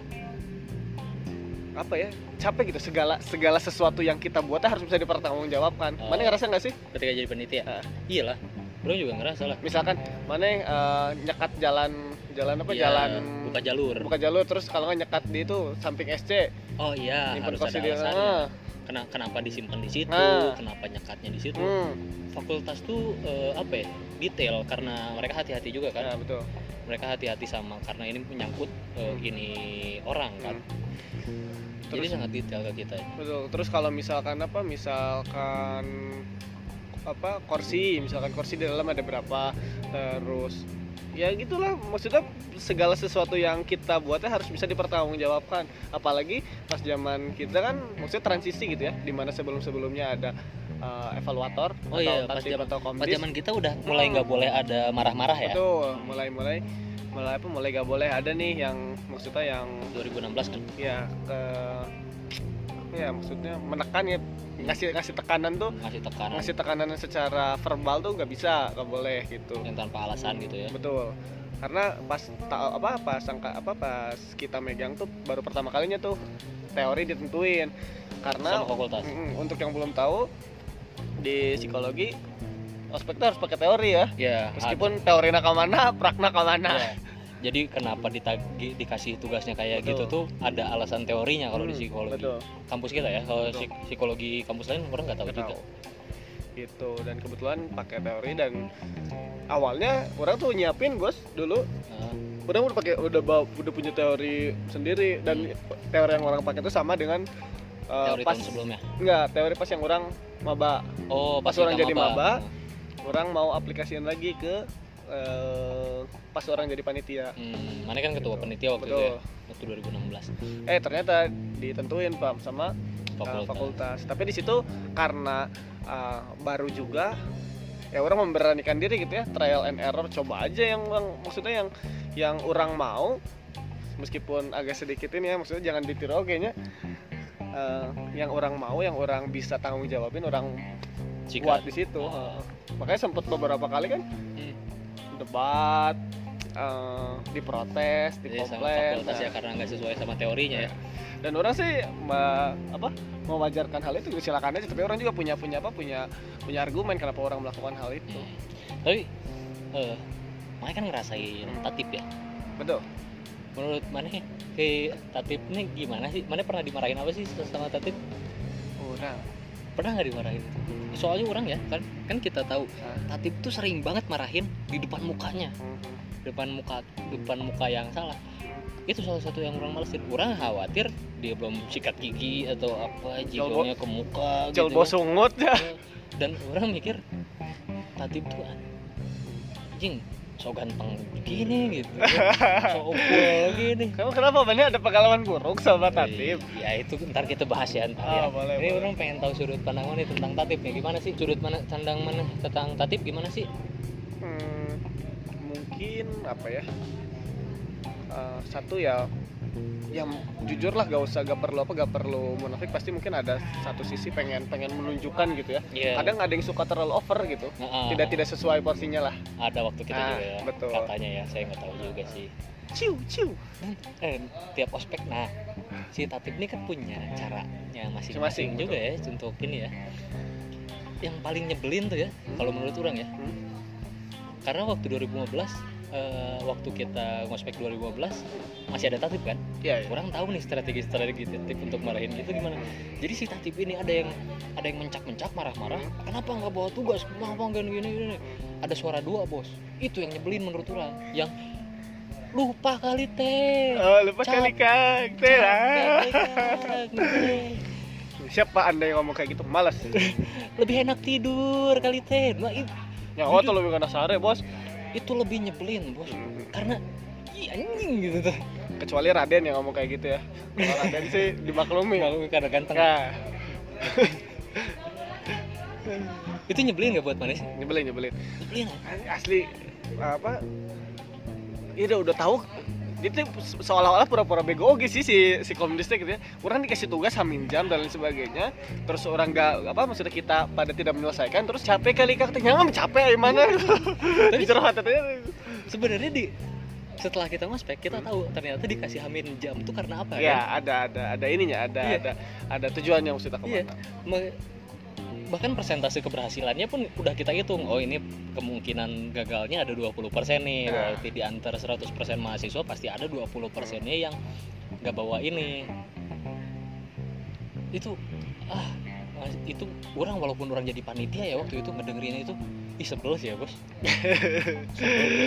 S1: apa ya capek gitu segala segala sesuatu yang kita buat harus bisa dipertanggungjawabkan
S2: Oh.
S1: mana ngerasa nggak sih
S2: Ketika jadi panitia.
S1: Ah.
S2: Iyalah. Bro juga ngerasa lah.
S1: misalkan mana yang eh, nyekat jalan jalan apa
S2: Hmm. Iya,
S1: jalan
S2: buka jalur.
S1: buka jalur terus kalau nggak nyekat di itu samping SC
S2: Oh iya,
S1: nyimpen
S2: harus ada
S1: kursi di
S2: alasannya.
S1: ah,
S2: Kena, kenapa disimpan di situ?
S1: Ah.
S2: Kenapa nyekatnya di situ?
S1: hmm,
S2: Fakultas tuh eh, apa ya? Detail karena mereka hati-hati juga kan.
S1: nah, betul
S2: Mereka hati-hati sama karena ini menyangkut eh,
S1: Hmm.
S2: ini orang kan.
S1: Hmm.
S2: Jadi
S1: terus
S2: sangat detail ke kita.
S1: betul terus kalau misalkan apa misalkan apa kursi misalkan kursi di dalam ada berapa terus ya gitulah maksudnya segala sesuatu yang kita buatnya harus bisa dipertanggungjawabkan apalagi pas zaman kita kan maksudnya transisi gitu ya dimana sebelum sebelumnya ada eh, evaluator
S2: Oh
S1: atau
S2: iya, pas
S1: tatip
S2: zaman-
S1: atau
S2: Pas
S1: komdis
S2: zaman kita udah mulai nggak boleh ada marah-marah ya.
S1: Betul, mulai-mulai mulai apa mulai gak boleh ada nih yang maksudnya yang
S2: 2016 kan.
S1: ya ke apa ya maksudnya menekan ya ngasih ngasih tekanan tuh
S2: Ngasih tekanan
S1: ngasih tekanan secara verbal tuh nggak bisa nggak boleh gitu
S2: yang tanpa alasan gitu ya.
S1: betul karena pas ta- apa pas angka- apa pas kita megang tuh baru pertama kalinya tuh teori ditentuin karena
S2: Sama fakultas.
S1: mm, untuk yang belum tahu di psikologi ospek tuh harus pakai teori ya
S2: Ya,
S1: meskipun Nah. teorinya kemana prakna
S2: ada-
S1: kemana
S2: ya. Jadi kenapa ditagi, dikasih tugasnya kayak gitu
S1: Betul.
S2: tuh ada alasan teorinya kalau di
S1: Hmm,
S2: psikologi
S1: betul
S2: kampus kita ya. Kalau
S1: Betul.
S2: psik- psikologi kampus lain orang nggak tahu
S1: Nggak
S2: juga.
S1: tahu. gitu dan kebetulan pakai teori dan awalnya orang tuh nyiapin bos dulu
S2: Nah,
S1: orang udah pakai udah bawa- udah punya teori sendiri dan teori yang orang pakai itu sama dengan uh,
S2: teori
S1: pas
S2: tahun sebelumnya.
S1: enggak teori pas yang orang maba
S2: Oh,
S1: Pas
S2: kita
S1: orang jadi maba,
S2: Nah,
S1: orang mau aplikasiin lagi ke uh, pas orang jadi panitia
S2: Hmm, mana kan ketua penitia waktu itu ya,
S1: betul
S2: waktu 2016
S1: eh ternyata ditentuin pam sama fakultas.
S2: fakultas.
S1: fakultas. Tapi di situ karena uh, baru juga ya orang memberanikan diri gitu ya trial and error coba aja yang, yang- maksudnya yang yang orang mau meskipun agak sedikit ini ya maksudnya jangan ditiru oke nya Uh, yang orang mau yang orang bisa tanggung jawabin orang
S2: Jika
S1: buat di situ
S2: Ah.
S1: Uh, makanya sempat beberapa kali kan
S2: Hmm.
S1: debat uh, diprotes
S2: Jadi Iya, sama
S1: dikomplain
S2: fakultas
S1: nah.
S2: ya karena nggak sesuai sama teorinya ya.
S1: dan orang sih ma- apa mewajarkan hal itu silakan aja tapi orang juga punya punya apa punya punya argumen kenapa orang melakukan hal itu
S2: Hmm. Tapi eh mana kan ngerasain tatip ya.
S1: betul
S2: Menurut mana ke tatip ini gimana sih? Mana pernah dimarahin apa sih sama tatip?
S1: orang
S2: Pernah nggak dimarahin? Soalnya orang ya kan kan kita tahu
S1: Ah.
S2: tatip tuh sering banget marahin di depan mukanya, depan muka depan muka yang salah. Itu salah satu yang orang malesin. Orang khawatir dia belum sikat gigi atau apa
S1: Jol bo-
S2: jigongnya ke muka
S1: jol
S2: gitu.
S1: bosungut ya
S2: dan orang mikir tatip tuh anjing so ganteng gini gitu so cool gini
S1: *laughs* kamu kenapa banyak ada pengalaman buruk sama *laughs* tatib
S2: ya itu ntar kita bahas ya ntar ya
S1: ah boleh
S2: ini
S1: boleh.
S2: orang pengen tahu sudut pandang mana tentang tatip nih gimana sih sudut mana pandang mana tentang tatip gimana sih
S1: Hmm, mungkin apa ya Eh, satu ya yang jujur lah gak usah gak perlu apa gak perlu munafik pasti mungkin ada satu sisi pengen pengen menunjukkan gitu ya
S2: Iya.
S1: kadang ada yang suka terlalu over gitu
S2: Nah, ah,
S1: tidak tidak sesuai porsinya lah
S2: ada waktu kita
S1: Ah,
S2: juga ya,
S1: betul.
S2: katanya ya saya nggak tahu juga sih
S1: ciu ciu
S2: eh, tiap ospek nah si tatip ini kan punya caranya
S1: Masing-masing,
S2: masing-masing juga ya untuk ini ya yang paling nyebelin tuh ya
S1: Hmm.
S2: kalau menurut orang ya
S1: Hmm.
S2: karena waktu 2015 eh, waktu kita ngospek 2015 masih ada tatip kan
S1: Iya, iya.
S2: orang tahu nih strategi strategi tatip untuk marahin gitu gimana jadi si tatip ini ada yang ada yang mencak mencak marah marah kenapa nggak bawa tugas kenapa nggak gini gini ada suara dua bos itu yang nyebelin menurut orang yang lupa kali teh
S1: Oh, lupa
S2: Cap.
S1: kali Kang. Tera.
S2: Capek, Kang. Teh.
S1: Siapa Anda yang ngomong kayak gitu? Males.
S2: lebih enak tidur kali teh nah, i-
S1: Nyawa tuh lebih kena sare, Bos.
S2: itu lebih nyebelin bos karena Ih, anjing gitu tuh
S1: Kecuali Raden yang ngomong kayak gitu ya. Kalau Raden sih dimaklumi.
S2: Malu karena ganteng
S1: Nah,
S2: itu nyebelin gak buat manis
S1: nyebelin, nyebelin.
S2: nyebelin ya?
S1: Asli apa? Iya udah, udah tahu itu seolah-olah pura-pura bego oke sih si si komunisnya gitu ya orang dikasih tugas hamin jam dan lain sebagainya terus orang nggak apa maksudnya kita pada tidak menyelesaikan terus capek kali kak jangan capek gimana *laughs* curhat aja
S2: sebenarnya di setelah kita ngospek kita tahu ternyata dikasih hamin jam tuh karena apa
S1: Ya,
S2: ya
S1: ada ada ada ininya, ada
S2: Iya.
S1: ada ada tujuannya mesti kita
S2: Iya.
S1: kemana. *laughs*
S2: Me- bahkan persentase keberhasilannya pun udah kita hitung oh ini kemungkinan gagalnya ada 20% nih
S1: Nah.
S2: berarti di antara 100% mahasiswa pasti ada 20% nya yang nggak bawa ini itu ah mas- itu orang walaupun orang jadi panitia ya waktu itu ngedengerinnya itu ih sebel sih ya bos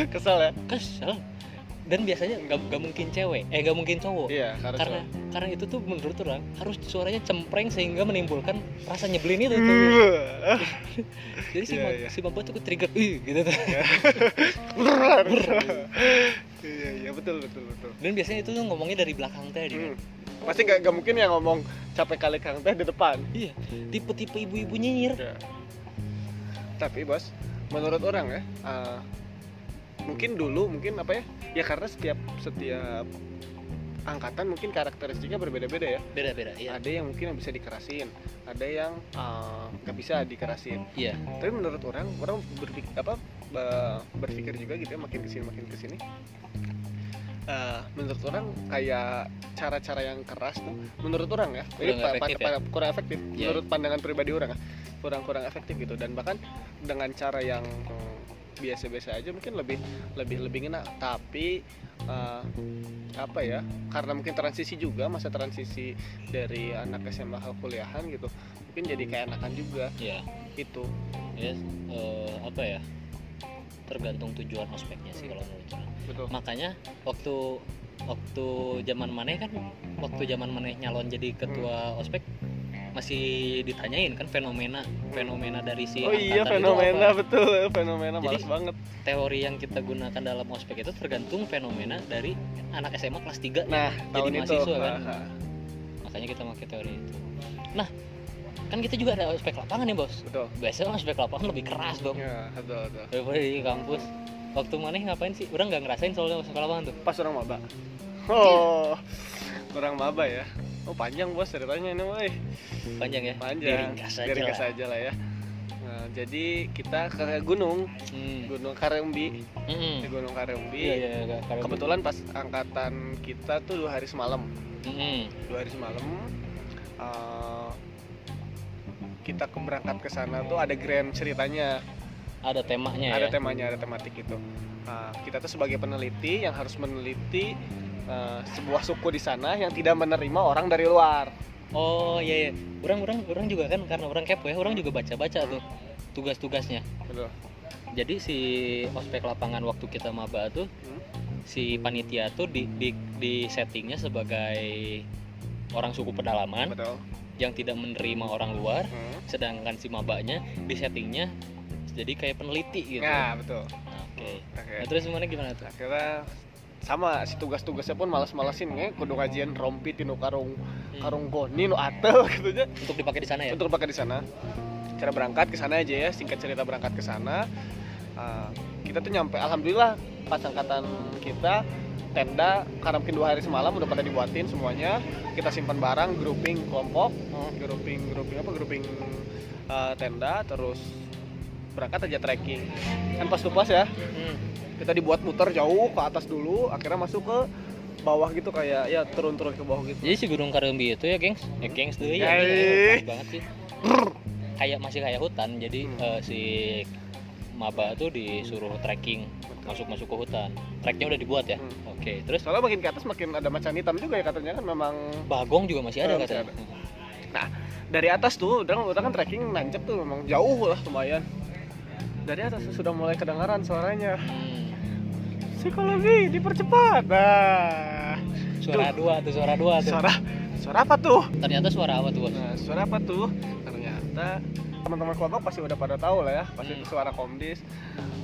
S1: Kesel ya?
S2: kesel dan biasanya nggak nggak mungkin cewek eh nggak mungkin cowok
S1: Iya, karena
S2: karena karena itu tuh menurut orang harus suaranya cempreng sehingga menimbulkan rasa nyebelin itu ya? tuh.
S1: Hmm.
S2: jadi si
S1: Iya,
S2: Ma-
S1: iya.
S2: si mabok tuh trigger ih gitu tuh
S1: Iya, iya betul betul betul.
S2: dan biasanya itu tuh ngomongnya dari belakang tadi
S1: Hmm. Pasti nggak nggak mungkin yang ngomong capek kali kang teh di depan.
S2: iya
S1: Hmm.
S2: tipe-tipe ibu-ibu nyinyir
S1: Ya. Tapi bos, menurut orang ya, eh, mungkin dulu mungkin apa ya? Ya karena setiap setiap angkatan mungkin karakteristiknya berbeda-beda ya.
S2: beda-beda iya Ah.
S1: Ada yang mungkin yang bisa dikerasin, ada yang eh, nggak bisa dikerasin.
S2: iya
S1: tapi menurut orang orang berpikir apa be- berpikir juga gitu ya makin kesini makin kesini Eh, menurut orang kayak cara-cara yang keras tuh menurut orang ya
S2: Kurang
S1: pa- pa-
S2: efektif
S1: pa- kurang efektif
S2: Iya.
S1: menurut pandangan pribadi orang ya kurang kurang efektif gitu dan bahkan dengan cara yang mm, biasa-biasa aja mungkin lebih lebih lebih ngena tapi eh, apa ya karena mungkin transisi juga masa transisi dari anak SMA ke kuliahan gitu mungkin jadi keenakan juga Gitu.
S2: iya
S1: itu
S2: iya eh, apa ya tergantung tujuan ospeknya sih kalau menurut orang
S1: betul
S2: makanya waktu
S1: Hmm.
S2: waktu zaman maneh kan waktu zaman maneh nyalon jadi ketua ospek masih ditanyain kan fenomena fenomena dari si
S1: oh iya
S2: angkatan itu
S1: fenomena
S2: apa.
S1: betul fenomena
S2: Jadi,
S1: malas banget
S2: teori yang kita gunakan dalam ospek itu tergantung fenomena dari anak SMA kelas 3
S1: nah tahun itu
S2: mahasiswa kan.
S1: ah, ah,
S2: makanya kita pakai teori itu nah kan kita juga ada ospek lapangan nih bos
S1: betul
S2: biasanya ospek lapangan lebih keras dong
S1: ya betul betul
S2: daripada di kampus waktu mana ngapain sih orang nggak ngerasain soalnya ospek lapangan tuh
S1: pas orang maba oh orang maba ya oh panjang bos ceritanya ini woi
S2: panjang ya
S1: panjang
S2: diringkas aja
S1: Diringkas
S2: lah
S1: aja lah ya Nah, jadi kita ke gunung
S2: Hmm.
S1: gunung Karembi
S2: Mm-mm.
S1: di gunung Karembi
S2: Hmm. Iya, iya, iya, karena-
S1: Hmm. kebetulan pas angkatan kita tuh dua hari semalam
S2: Mm-mm.
S1: dua hari semalam eh, kita ke- berangkat ke sana tuh ada grand ceritanya
S2: ada temanya
S1: ada
S2: ya
S1: temanya ada tematik itu Nah, kita tuh sebagai peneliti yang harus meneliti eh, sebuah suku di sana yang tidak menerima orang dari luar
S2: oh iya iya orang orang orang juga kan karena orang kepo ya orang juga baca baca tuh tugas-tugasnya
S1: Betul.
S2: jadi si ospek lapangan waktu kita maba tuh
S1: Hmm.
S2: si panitia tuh di, di di settingnya sebagai orang suku pedalaman
S1: betul
S2: yang tidak menerima orang luar
S1: Hmm.
S2: sedangkan si mabaknya di settingnya jadi kayak peneliti gitu
S1: Nah, betul
S2: Nah, oke
S1: Oke.
S2: nah, terus gimana gimana tuh
S1: akhirnya sama si tugas-tugasnya pun malas-malasin nge kudu ngajian rompi tinu karung
S2: Hmm.
S1: karung goni nu ateu *laughs* gitu aja
S2: untuk dipakai di sana ya
S1: untuk pakai di sana cara berangkat ke sana aja ya singkat cerita berangkat ke sana Ah, kita tuh nyampe alhamdulillah pas angkatan kita tenda karena mungkin dua hari semalam udah pada dibuatin semuanya kita simpan barang grouping kelompok grouping grouping apa grouping ah, tenda terus berangkat aja trekking kan pas tuh pas ya
S2: Hmm.
S1: kita dibuat muter jauh ke atas dulu akhirnya masuk ke bawah gitu kayak ya turun-turun ke bawah gitu
S2: jadi si gunung karembi itu ya gengs ya gengs tuh ya
S1: Hai.
S2: ini banget sih kayak masih kayak hutan jadi
S1: Hmm.
S2: eh, si maba tuh disuruh trekking masuk masuk ke hutan treknya udah dibuat ya
S1: Hmm.
S2: oke terus
S1: soalnya makin ke atas makin ada macan hitam juga ya katanya kan memang
S2: bagong juga masih ada kan,
S1: Eh, masih
S2: katanya
S1: dari atas tuh udah udah kan trekking nancep tuh memang jauh lah lumayan dari atas tuh sudah mulai kedengaran suaranya
S2: Hmm.
S1: psikologi dipercepat nah
S2: suara dua tuh suara dua tuh
S1: suara suara apa tuh
S2: ternyata suara apa tuh bos
S1: nah suara apa tuh ternyata teman-teman kelompok pasti udah pada tahu lah ya pasti
S2: Hmm.
S1: itu suara komdis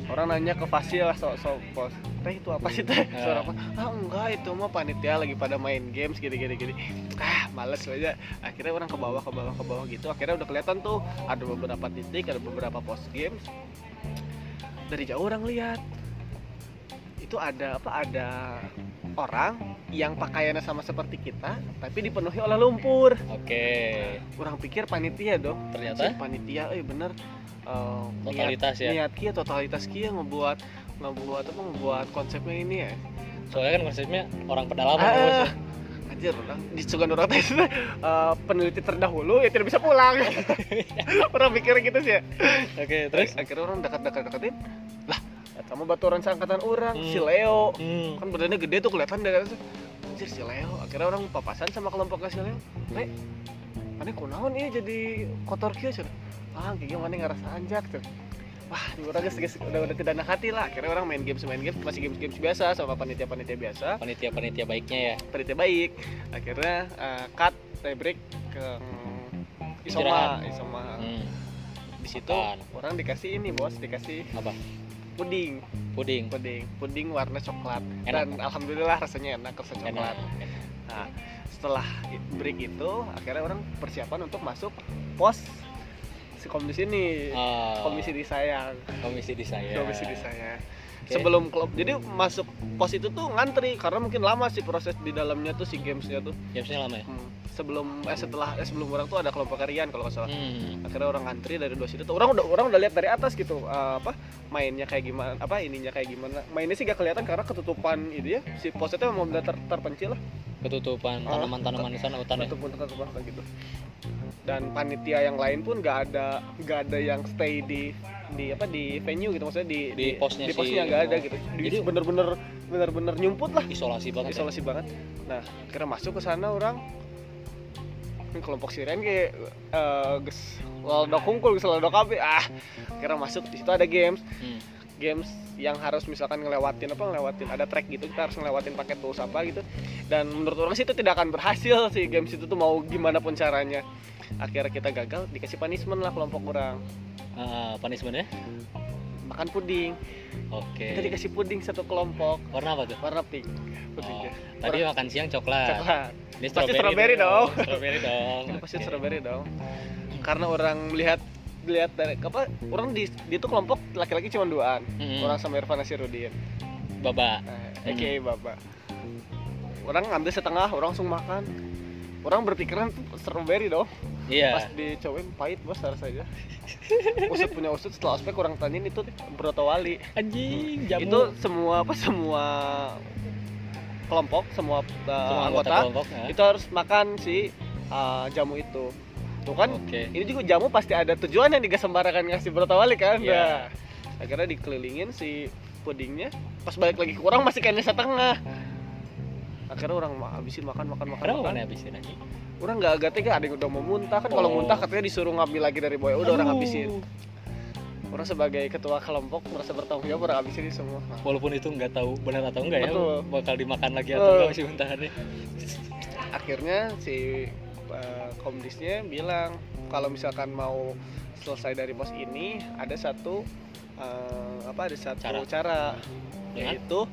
S1: orang nanya ke Fasi lah so so pos teh itu apa sih teh suara apa ah enggak itu mah panitia lagi pada main games gini gini gini ah males lah aja akhirnya orang ke bawah ke bawah ke bawah gitu akhirnya udah kelihatan tuh ada beberapa titik ada beberapa pos games dari jauh orang lihat itu ada apa ada orang yang pakaiannya sama seperti kita tapi dipenuhi oleh lumpur
S2: oke
S1: orang pikir panitia dong
S2: ternyata
S1: Si panitia eh bener eh, niat,
S2: totalitas ya
S1: niat kia totalitas kia ngebuat ngebuat apa ngebuat konsepnya ini ya
S2: soalnya kan konsepnya orang pedalaman
S1: Ah,
S2: bos ya.
S1: anjir orang di sugan orang teh eh, peneliti terdahulu ya tidak
S2: *laughs*
S1: bisa pulang orang pikir gitu sih ya
S2: oke terus
S1: Ak- akhirnya orang dekat dekat deketin lah sama batu orang seangkatan orang
S2: Hmm.
S1: si Leo
S2: hmm.
S1: kan badannya gede tuh kelihatan dari atas anjir si Leo akhirnya orang papasan sama kelompoknya si Leo Nek, mana kunaon ini jadi kotor kieu cenah ah kayaknya mana ngerasa anjak tuh wah ini orang geus geus udah udah kedana hati lah akhirnya orang main games main games masih games games biasa sama panitia panitia biasa
S2: panitia panitia baiknya ya
S1: panitia baik akhirnya eh, cut tie break ke mm, Isoma,
S2: Istirahat.
S1: Isoma.
S2: hmm.
S1: Ah.
S2: Kan.
S1: Di situ
S2: Makan.
S1: orang dikasih ini bos, dikasih
S2: apa
S1: puding,
S2: puding
S1: puding, puding warna coklat.
S2: Enak.
S1: Dan alhamdulillah rasanya enak rasa coklat.
S2: enak enak.
S1: Nah, setelah break
S2: Hmm.
S1: itu akhirnya orang persiapan untuk masuk pos si komisi ini
S2: Ah,
S1: komisi disayang
S2: komisi di saya
S1: komisi disayang
S2: Iya. Oke.
S1: sebelum klub jadi masuk pos itu tuh ngantri karena mungkin lama sih proses di dalamnya tuh si gamesnya tuh
S2: Jamsnya lama ya
S1: Hmm, sebelum eh setelah eh, sebelum orang tuh ada kelompok harian kalau nggak salah
S2: hmm.
S1: akhirnya orang ngantri dari dua situ tuh orang udah orang udah lihat dari atas gitu eh, apa mainnya kayak gimana apa ininya kayak gimana mainnya sih gak kelihatan karena ketutupan itu ya si posnya tuh memang udah ter- terpencil lah
S2: ketutupan
S1: Ah,
S2: tanaman-tanaman di sana hutan ya
S1: ataupun tetap bahasa gitu dan panitia yang lain pun nggak ada nggak ada yang stay di di apa di venue gitu maksudnya di
S2: Di posnya
S1: di
S2: si-
S1: posnya nggak ada gitu jadi
S2: Jadi-
S1: bener-bener bener-bener nyumput lah
S2: isolasi banget ya.
S1: isolasi banget nah kira masuk ke sana orang ini kelompok siren kayak eh ges lodok hungkul ges lodok api ah kira masuk di situ ada games
S2: Hmm.
S1: games yang harus misalkan ngelewatin apa ngelewatin ada track gitu kita harus ngelewatin pakai tools apa gitu dan menurut orang sih itu tidak akan berhasil sih games itu tuh mau gimana pun caranya akhirnya kita gagal dikasih punishment lah kelompok orang
S2: Ah, punishment ya?
S1: makan puding
S2: Oke.
S1: kita dikasih puding satu kelompok
S2: Warna apa tuh?
S1: warna pink
S2: Oh,
S1: pudingnya
S2: tadi makan siang coklat.
S1: coklat
S2: Ini
S1: Pasti strawberry dong.
S2: Strawberry dong.
S1: itu pasti
S2: Oke.
S1: strawberry dong karena orang melihat lihat dari apa orang di di itu kelompok laki-laki cuma duaan
S2: Mm-mm.
S1: orang sama Irfan Nasirudin
S2: Baba.
S1: nah,
S2: Hmm.
S1: aka bapak orang ngambil setengah orang langsung makan orang berpikiran tuh strawberry dong pas
S2: Iya.
S1: dicobain pahit bos rasanya usut punya usut setelah ospek orang tanyain itu broto wali
S2: Anjing, jamu.
S1: itu eh, semua apa semua kelompok semua, uh,
S2: Semua
S1: anggota,
S2: kelompok. ah.
S1: itu harus makan si uh, jamu itu tuh kan
S2: Oke.
S1: ini juga jamu pasti ada tujuan yang gak sembarangan ngasih berotawali kan
S2: Iya.
S1: Nah, akhirnya dikelilingin si pudingnya pas balik lagi ke orang masih kayaknya setengah
S2: Ah.
S1: akhirnya orang ma- habisin makan makan makan,
S2: Kenapa
S1: makan.
S2: mana habisin aja?
S1: orang nggak agak tega ada yang udah mau muntah kan kalau
S2: Oh.
S1: muntah katanya disuruh ngambil lagi dari boy udah orang habisin orang sebagai ketua kelompok merasa bertanggung jawab orang habisin ini semua Nah,
S2: Walaupun itu nggak tahu benar atau enggak ya,
S1: Betul.
S2: bakal dimakan lagi
S1: Betul.
S2: atau enggak sih mentahannya.
S1: akhirnya si uh, komdisnya bilang kalau misalkan mau selesai dari pos ini ada satu uh, apa ada satu
S2: Cara.
S1: cara,
S2: Ya.
S1: yaitu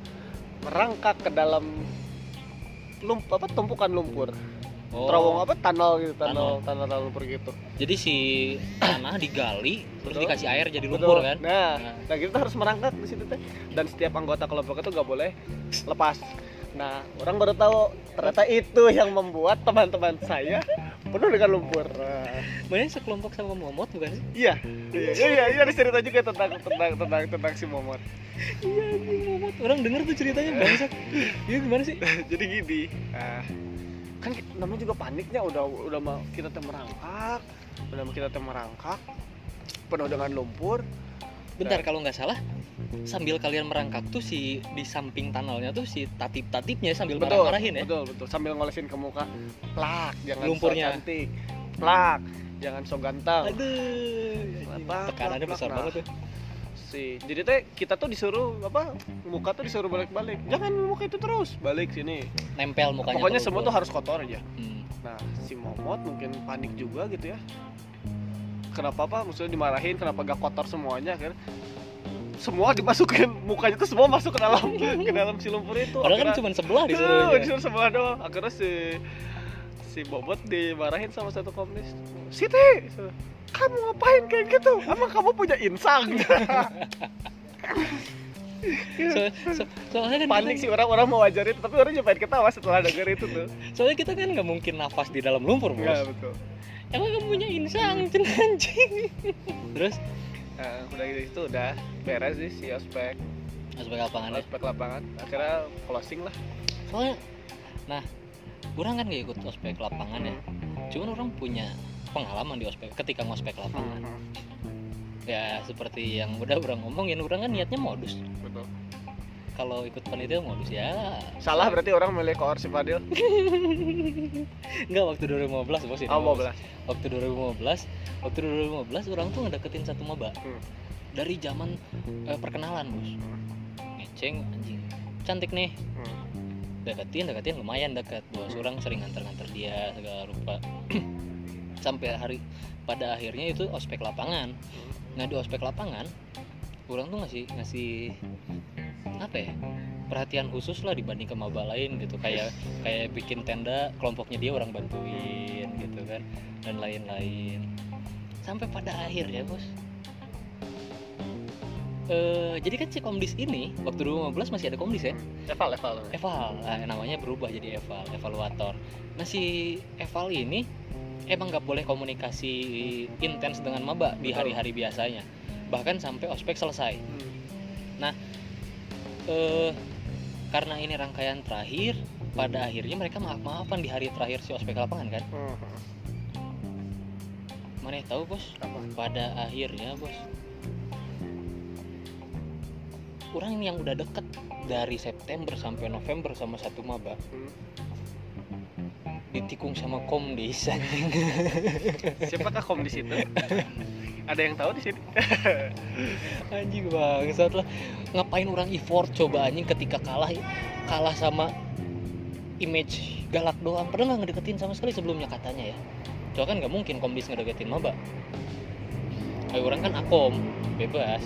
S1: merangkak ke dalam lump apa tumpukan lumpur
S2: Oh.
S1: terowong apa tunnel gitu tunnel tunnel lumpur gitu
S2: Jadi si tanah digali terus
S1: Betul.
S2: dikasih air jadi lumpur
S1: Betul.
S2: kan?
S1: nah
S2: Nah.
S1: nah kita harus merangkak di situ teh dan setiap anggota kelompok itu nggak boleh lepas nah orang baru tahu ternyata itu yang membuat teman-teman saya penuh dengan lumpur Nah.
S2: Sebenarnya sekelompok sama momot bukan sih?
S1: Iya, iya, iya, iya, iya, ada cerita juga tentang tentang tentang tentang si Momot.
S2: Iya, anjing, momot. Orang denger tuh ceritanya bangsat. Iya gimana sih?
S1: Jadi gini, ah, kan ki- namanya juga paniknya udah udah mau kita teh merangkak, udah mau kita teh merangkak, penuh dengan lumpur.
S2: Bentar kalau nggak salah sambil kalian merangkak tuh si di samping tunnelnya tuh si tatip-tatipnya sambil marah-marahin ya.
S1: betul, betul. Sambil ngolesin ke muka, plak, jangan
S2: Lumpurnya.
S1: so cantik, plak, jangan so ganteng.
S2: Aduh. anjing,
S1: Plak,
S2: Tekanannya
S1: plak,
S2: besar
S1: plak.
S2: banget ya. tuh.
S1: si jadi teh kita tuh disuruh apa muka tuh disuruh balik-balik jangan muka itu terus balik sini
S2: Nempel mukanya.
S1: pokoknya
S2: ke
S1: semua
S2: lumpur.
S1: tuh harus kotor aja
S2: Hmm.
S1: Nah, si Momot mungkin panik juga gitu ya. Kenapa apa? Maksudnya dimarahin, kenapa gak kotor semuanya akhirnya semua dimasukin mukanya tuh semua masuk ke
S2: *laughs*
S1: dalam ke dalam si lumpur itu.
S2: Padahal kan
S1: Akhirnya-
S2: cuma ya. sebelah
S1: Tuh,
S2: disuruhnya.
S1: disuruh sebelah doang. Akhirnya si si Bobot dimarahin sama satu komnis. Siti, kamu ngapain kayak gitu? Emang kamu punya
S2: *laughs*
S1: insang?
S2: So, so- soalnya kan
S1: panik
S2: kita,
S1: sih orang-orang mau wajarin, tapi orang juga pengen ketawa setelah denger itu tuh.
S2: soalnya kita kan nggak mungkin nafas di dalam lumpur bos.
S1: Iya betul.
S2: Emang kamu punya insang cen anjing. Terus
S1: Eh, udah gitu itu udah beres sih si ospek.
S2: aspek lapangan ya.
S1: ospek lapangan akhirnya closing lah
S2: Soalnya, nah, orang kan gak ikut ospek lapangan ya. Cuman orang punya pengalaman di ospek ketika ngospek lapangan.
S1: Hmm.
S2: Ya seperti yang udah orang ngomongin, orang kan niatnya modus.
S1: betul
S2: Kalau ikut panitia modus ya.
S1: salah berarti orang milih koor si Fadil
S2: Enggak waktu 2015 bos ini.
S1: oh
S2: bos.
S1: 12
S2: waktu 2015 waktu 2015 orang tuh ngedeketin satu maba
S1: Hmm.
S2: dari zaman eh, perkenalan bos ngeceng anjing cantik nih
S1: Hmm.
S2: deketin deketin lumayan dekat bos
S1: Hmm.
S2: orang sering nganter-nganter dia segala rupa *clears throat* sampai hari pada akhirnya itu ospek lapangan nah di ospek lapangan orang tuh ngasih ngasih apa ya perhatian khusus lah dibanding ke maba lain gitu kayak kayak bikin tenda kelompoknya dia orang bantuin gitu kan dan lain-lain sampai pada akhirnya bos eh jadi kan si komdis ini waktu 2015 masih ada komdis ya
S1: level level
S2: eval eh, namanya berubah jadi eval evaluator nah si eval ini emang nggak boleh komunikasi intens dengan maba di
S1: Betul.
S2: hari-hari biasanya bahkan sampai ospek selesai eh karena ini rangkaian terakhir pada akhirnya mereka maaf-maafan di hari terakhir si ospek lapangan kan
S1: Hmm.
S2: mana tahu bos
S1: apa
S2: pada akhirnya bos orang yang udah deket dari September sampai November sama satu maba
S1: Hmm.
S2: ditikung sama komdis
S1: siapakah kom di *laughs* situ ada yang tahu di sini
S2: *laughs* anjing bangsat lah ngapain orang effort coba anjing ketika kalah kalah sama image galak doang padahal nggak ngedeketin sama sekali sebelumnya katanya ya soalnya kan nggak mungkin komdis ngedeketin maba kayak orang kan akom bebas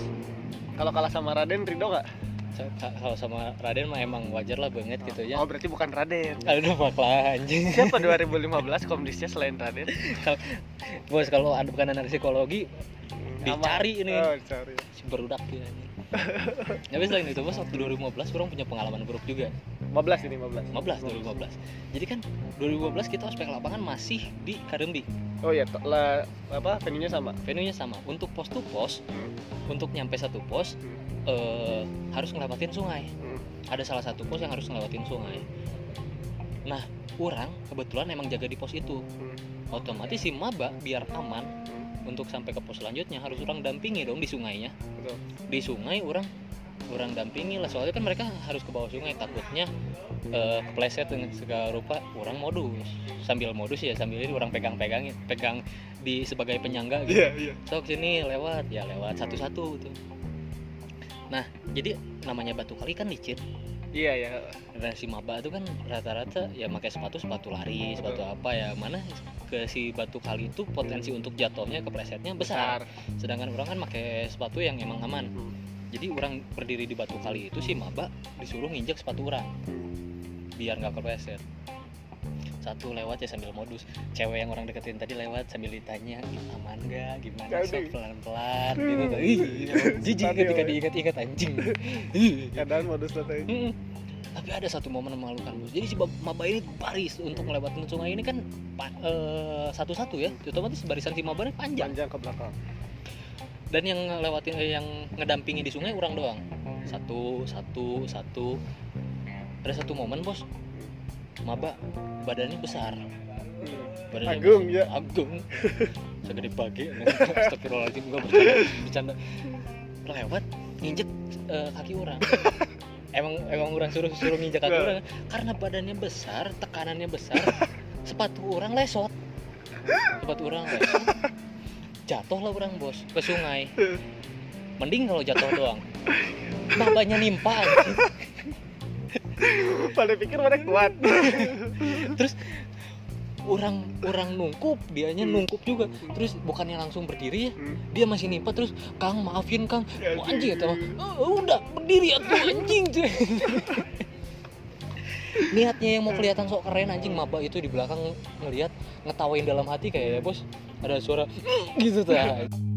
S1: Kalau kalah sama Raden Ridho nggak?
S2: Sa- sa- kalau sama Raden mah emang wajar lah banget gitu ya
S1: Oh berarti bukan Raden.
S2: aduh maklah anjing
S1: *laughs* Siapa 2015 komdisnya selain Raden?
S2: bos kalau ada bukan anak psikologi Dicari ini.
S1: Oh, dicari.
S2: si berudak ya anjing. tapi selain itu bos waktu 2015 orang punya pengalaman buruk juga
S1: 15 ini 15.
S2: 15 2015 jadi kan 2015 kita ospek lapangan masih di Karembi
S1: Oh iya, to- lah apa venue-nya sama.
S2: venue nya sama untuk pos to pos untuk nyampe satu pos
S1: Hmm.
S2: eh, harus ngelewatin sungai
S1: Hmm.
S2: ada salah satu pos yang harus ngelewatin sungai nah orang kebetulan emang jaga di pos itu
S1: Hmm.
S2: otomatis si maba biar aman untuk sampai ke pos selanjutnya harus orang dampingi dong di sungainya
S1: Betul.
S2: di sungai orang orang dampingi lah soalnya kan mereka harus ke bawah sungai takutnya eh, kepleset dengan segala rupa orang modus sambil modus ya sambil ini orang pegang-pegangin pegang di sebagai penyangga gitu
S1: Iya, iya.
S2: sok sini lewat ya lewat satu-satu gitu nah jadi namanya batu kali kan licin
S1: Iya, ya.
S2: Nah si maba itu kan rata-rata ya pakai sepatu sepatu lari sepatu apa ya mana ke si batu kali itu potensi untuk jatuhnya keplesetnya besar. Sedangkan orang kan pakai sepatu yang emang aman.
S1: Hmm.
S2: Jadi orang berdiri di batu kali itu si maba disuruh nginjek sepatu orang biar nggak kepleset. Satu lewat ya sambil modus. Cewek yang orang deketin tadi lewat sambil ditanya "Ih, aman gak gimana
S1: Aduh.
S2: sok pelan-pelan gitu. Ih, Jijik ketika diingat-ingat anjing. Ih.
S1: Kadang modus strategi.
S2: Mm-mm. Tapi ada satu momen memalukan bos. Jadi si Bab- Maba ini baris untuk melewati sungai ini kan pa- eh, satu-satu ya. Otomatis barisan si Maba ini panjang.
S1: Panjang ke belakang.
S2: Dan yang ngelewatin eh, yang ngedampingi di sungai orang doang. Satu, satu, satu. Ada satu momen bos. Maba badannya besar.
S1: Hmm.
S2: Badannya
S1: Agung,
S2: besar.
S1: ya.
S2: *laughs* Agung. Segede bage. *laughs* Astagfirullahaladzim gua bercanda. bercanda. Lewat nginjek eh, kaki orang. emang emang orang suruh suruh nginjek kaki
S1: Nah.
S2: orang karena badannya besar, tekanannya besar. sepatu orang lesot. Sepatu orang lesot. Jatuhlah orang bos ke sungai. Mending kalau jatuh doang. Babanya nimpa anjing.
S1: Pada pikir mana kuat.
S2: terus orang orang nungkup dianya
S1: Hmm.
S2: nungkup juga terus bukannya langsung berdiri ya
S1: Hmm.
S2: dia masih nimpa terus kang maafin kang
S1: Ya,
S2: Wah, anjing
S1: gitu.
S2: atau Eh, udah berdiri atuh anjing cuy." niatnya yang mau kelihatan sok keren anjing maba itu di belakang ngelihat ngetawain dalam hati kayak ya bos ada suara gitu tuh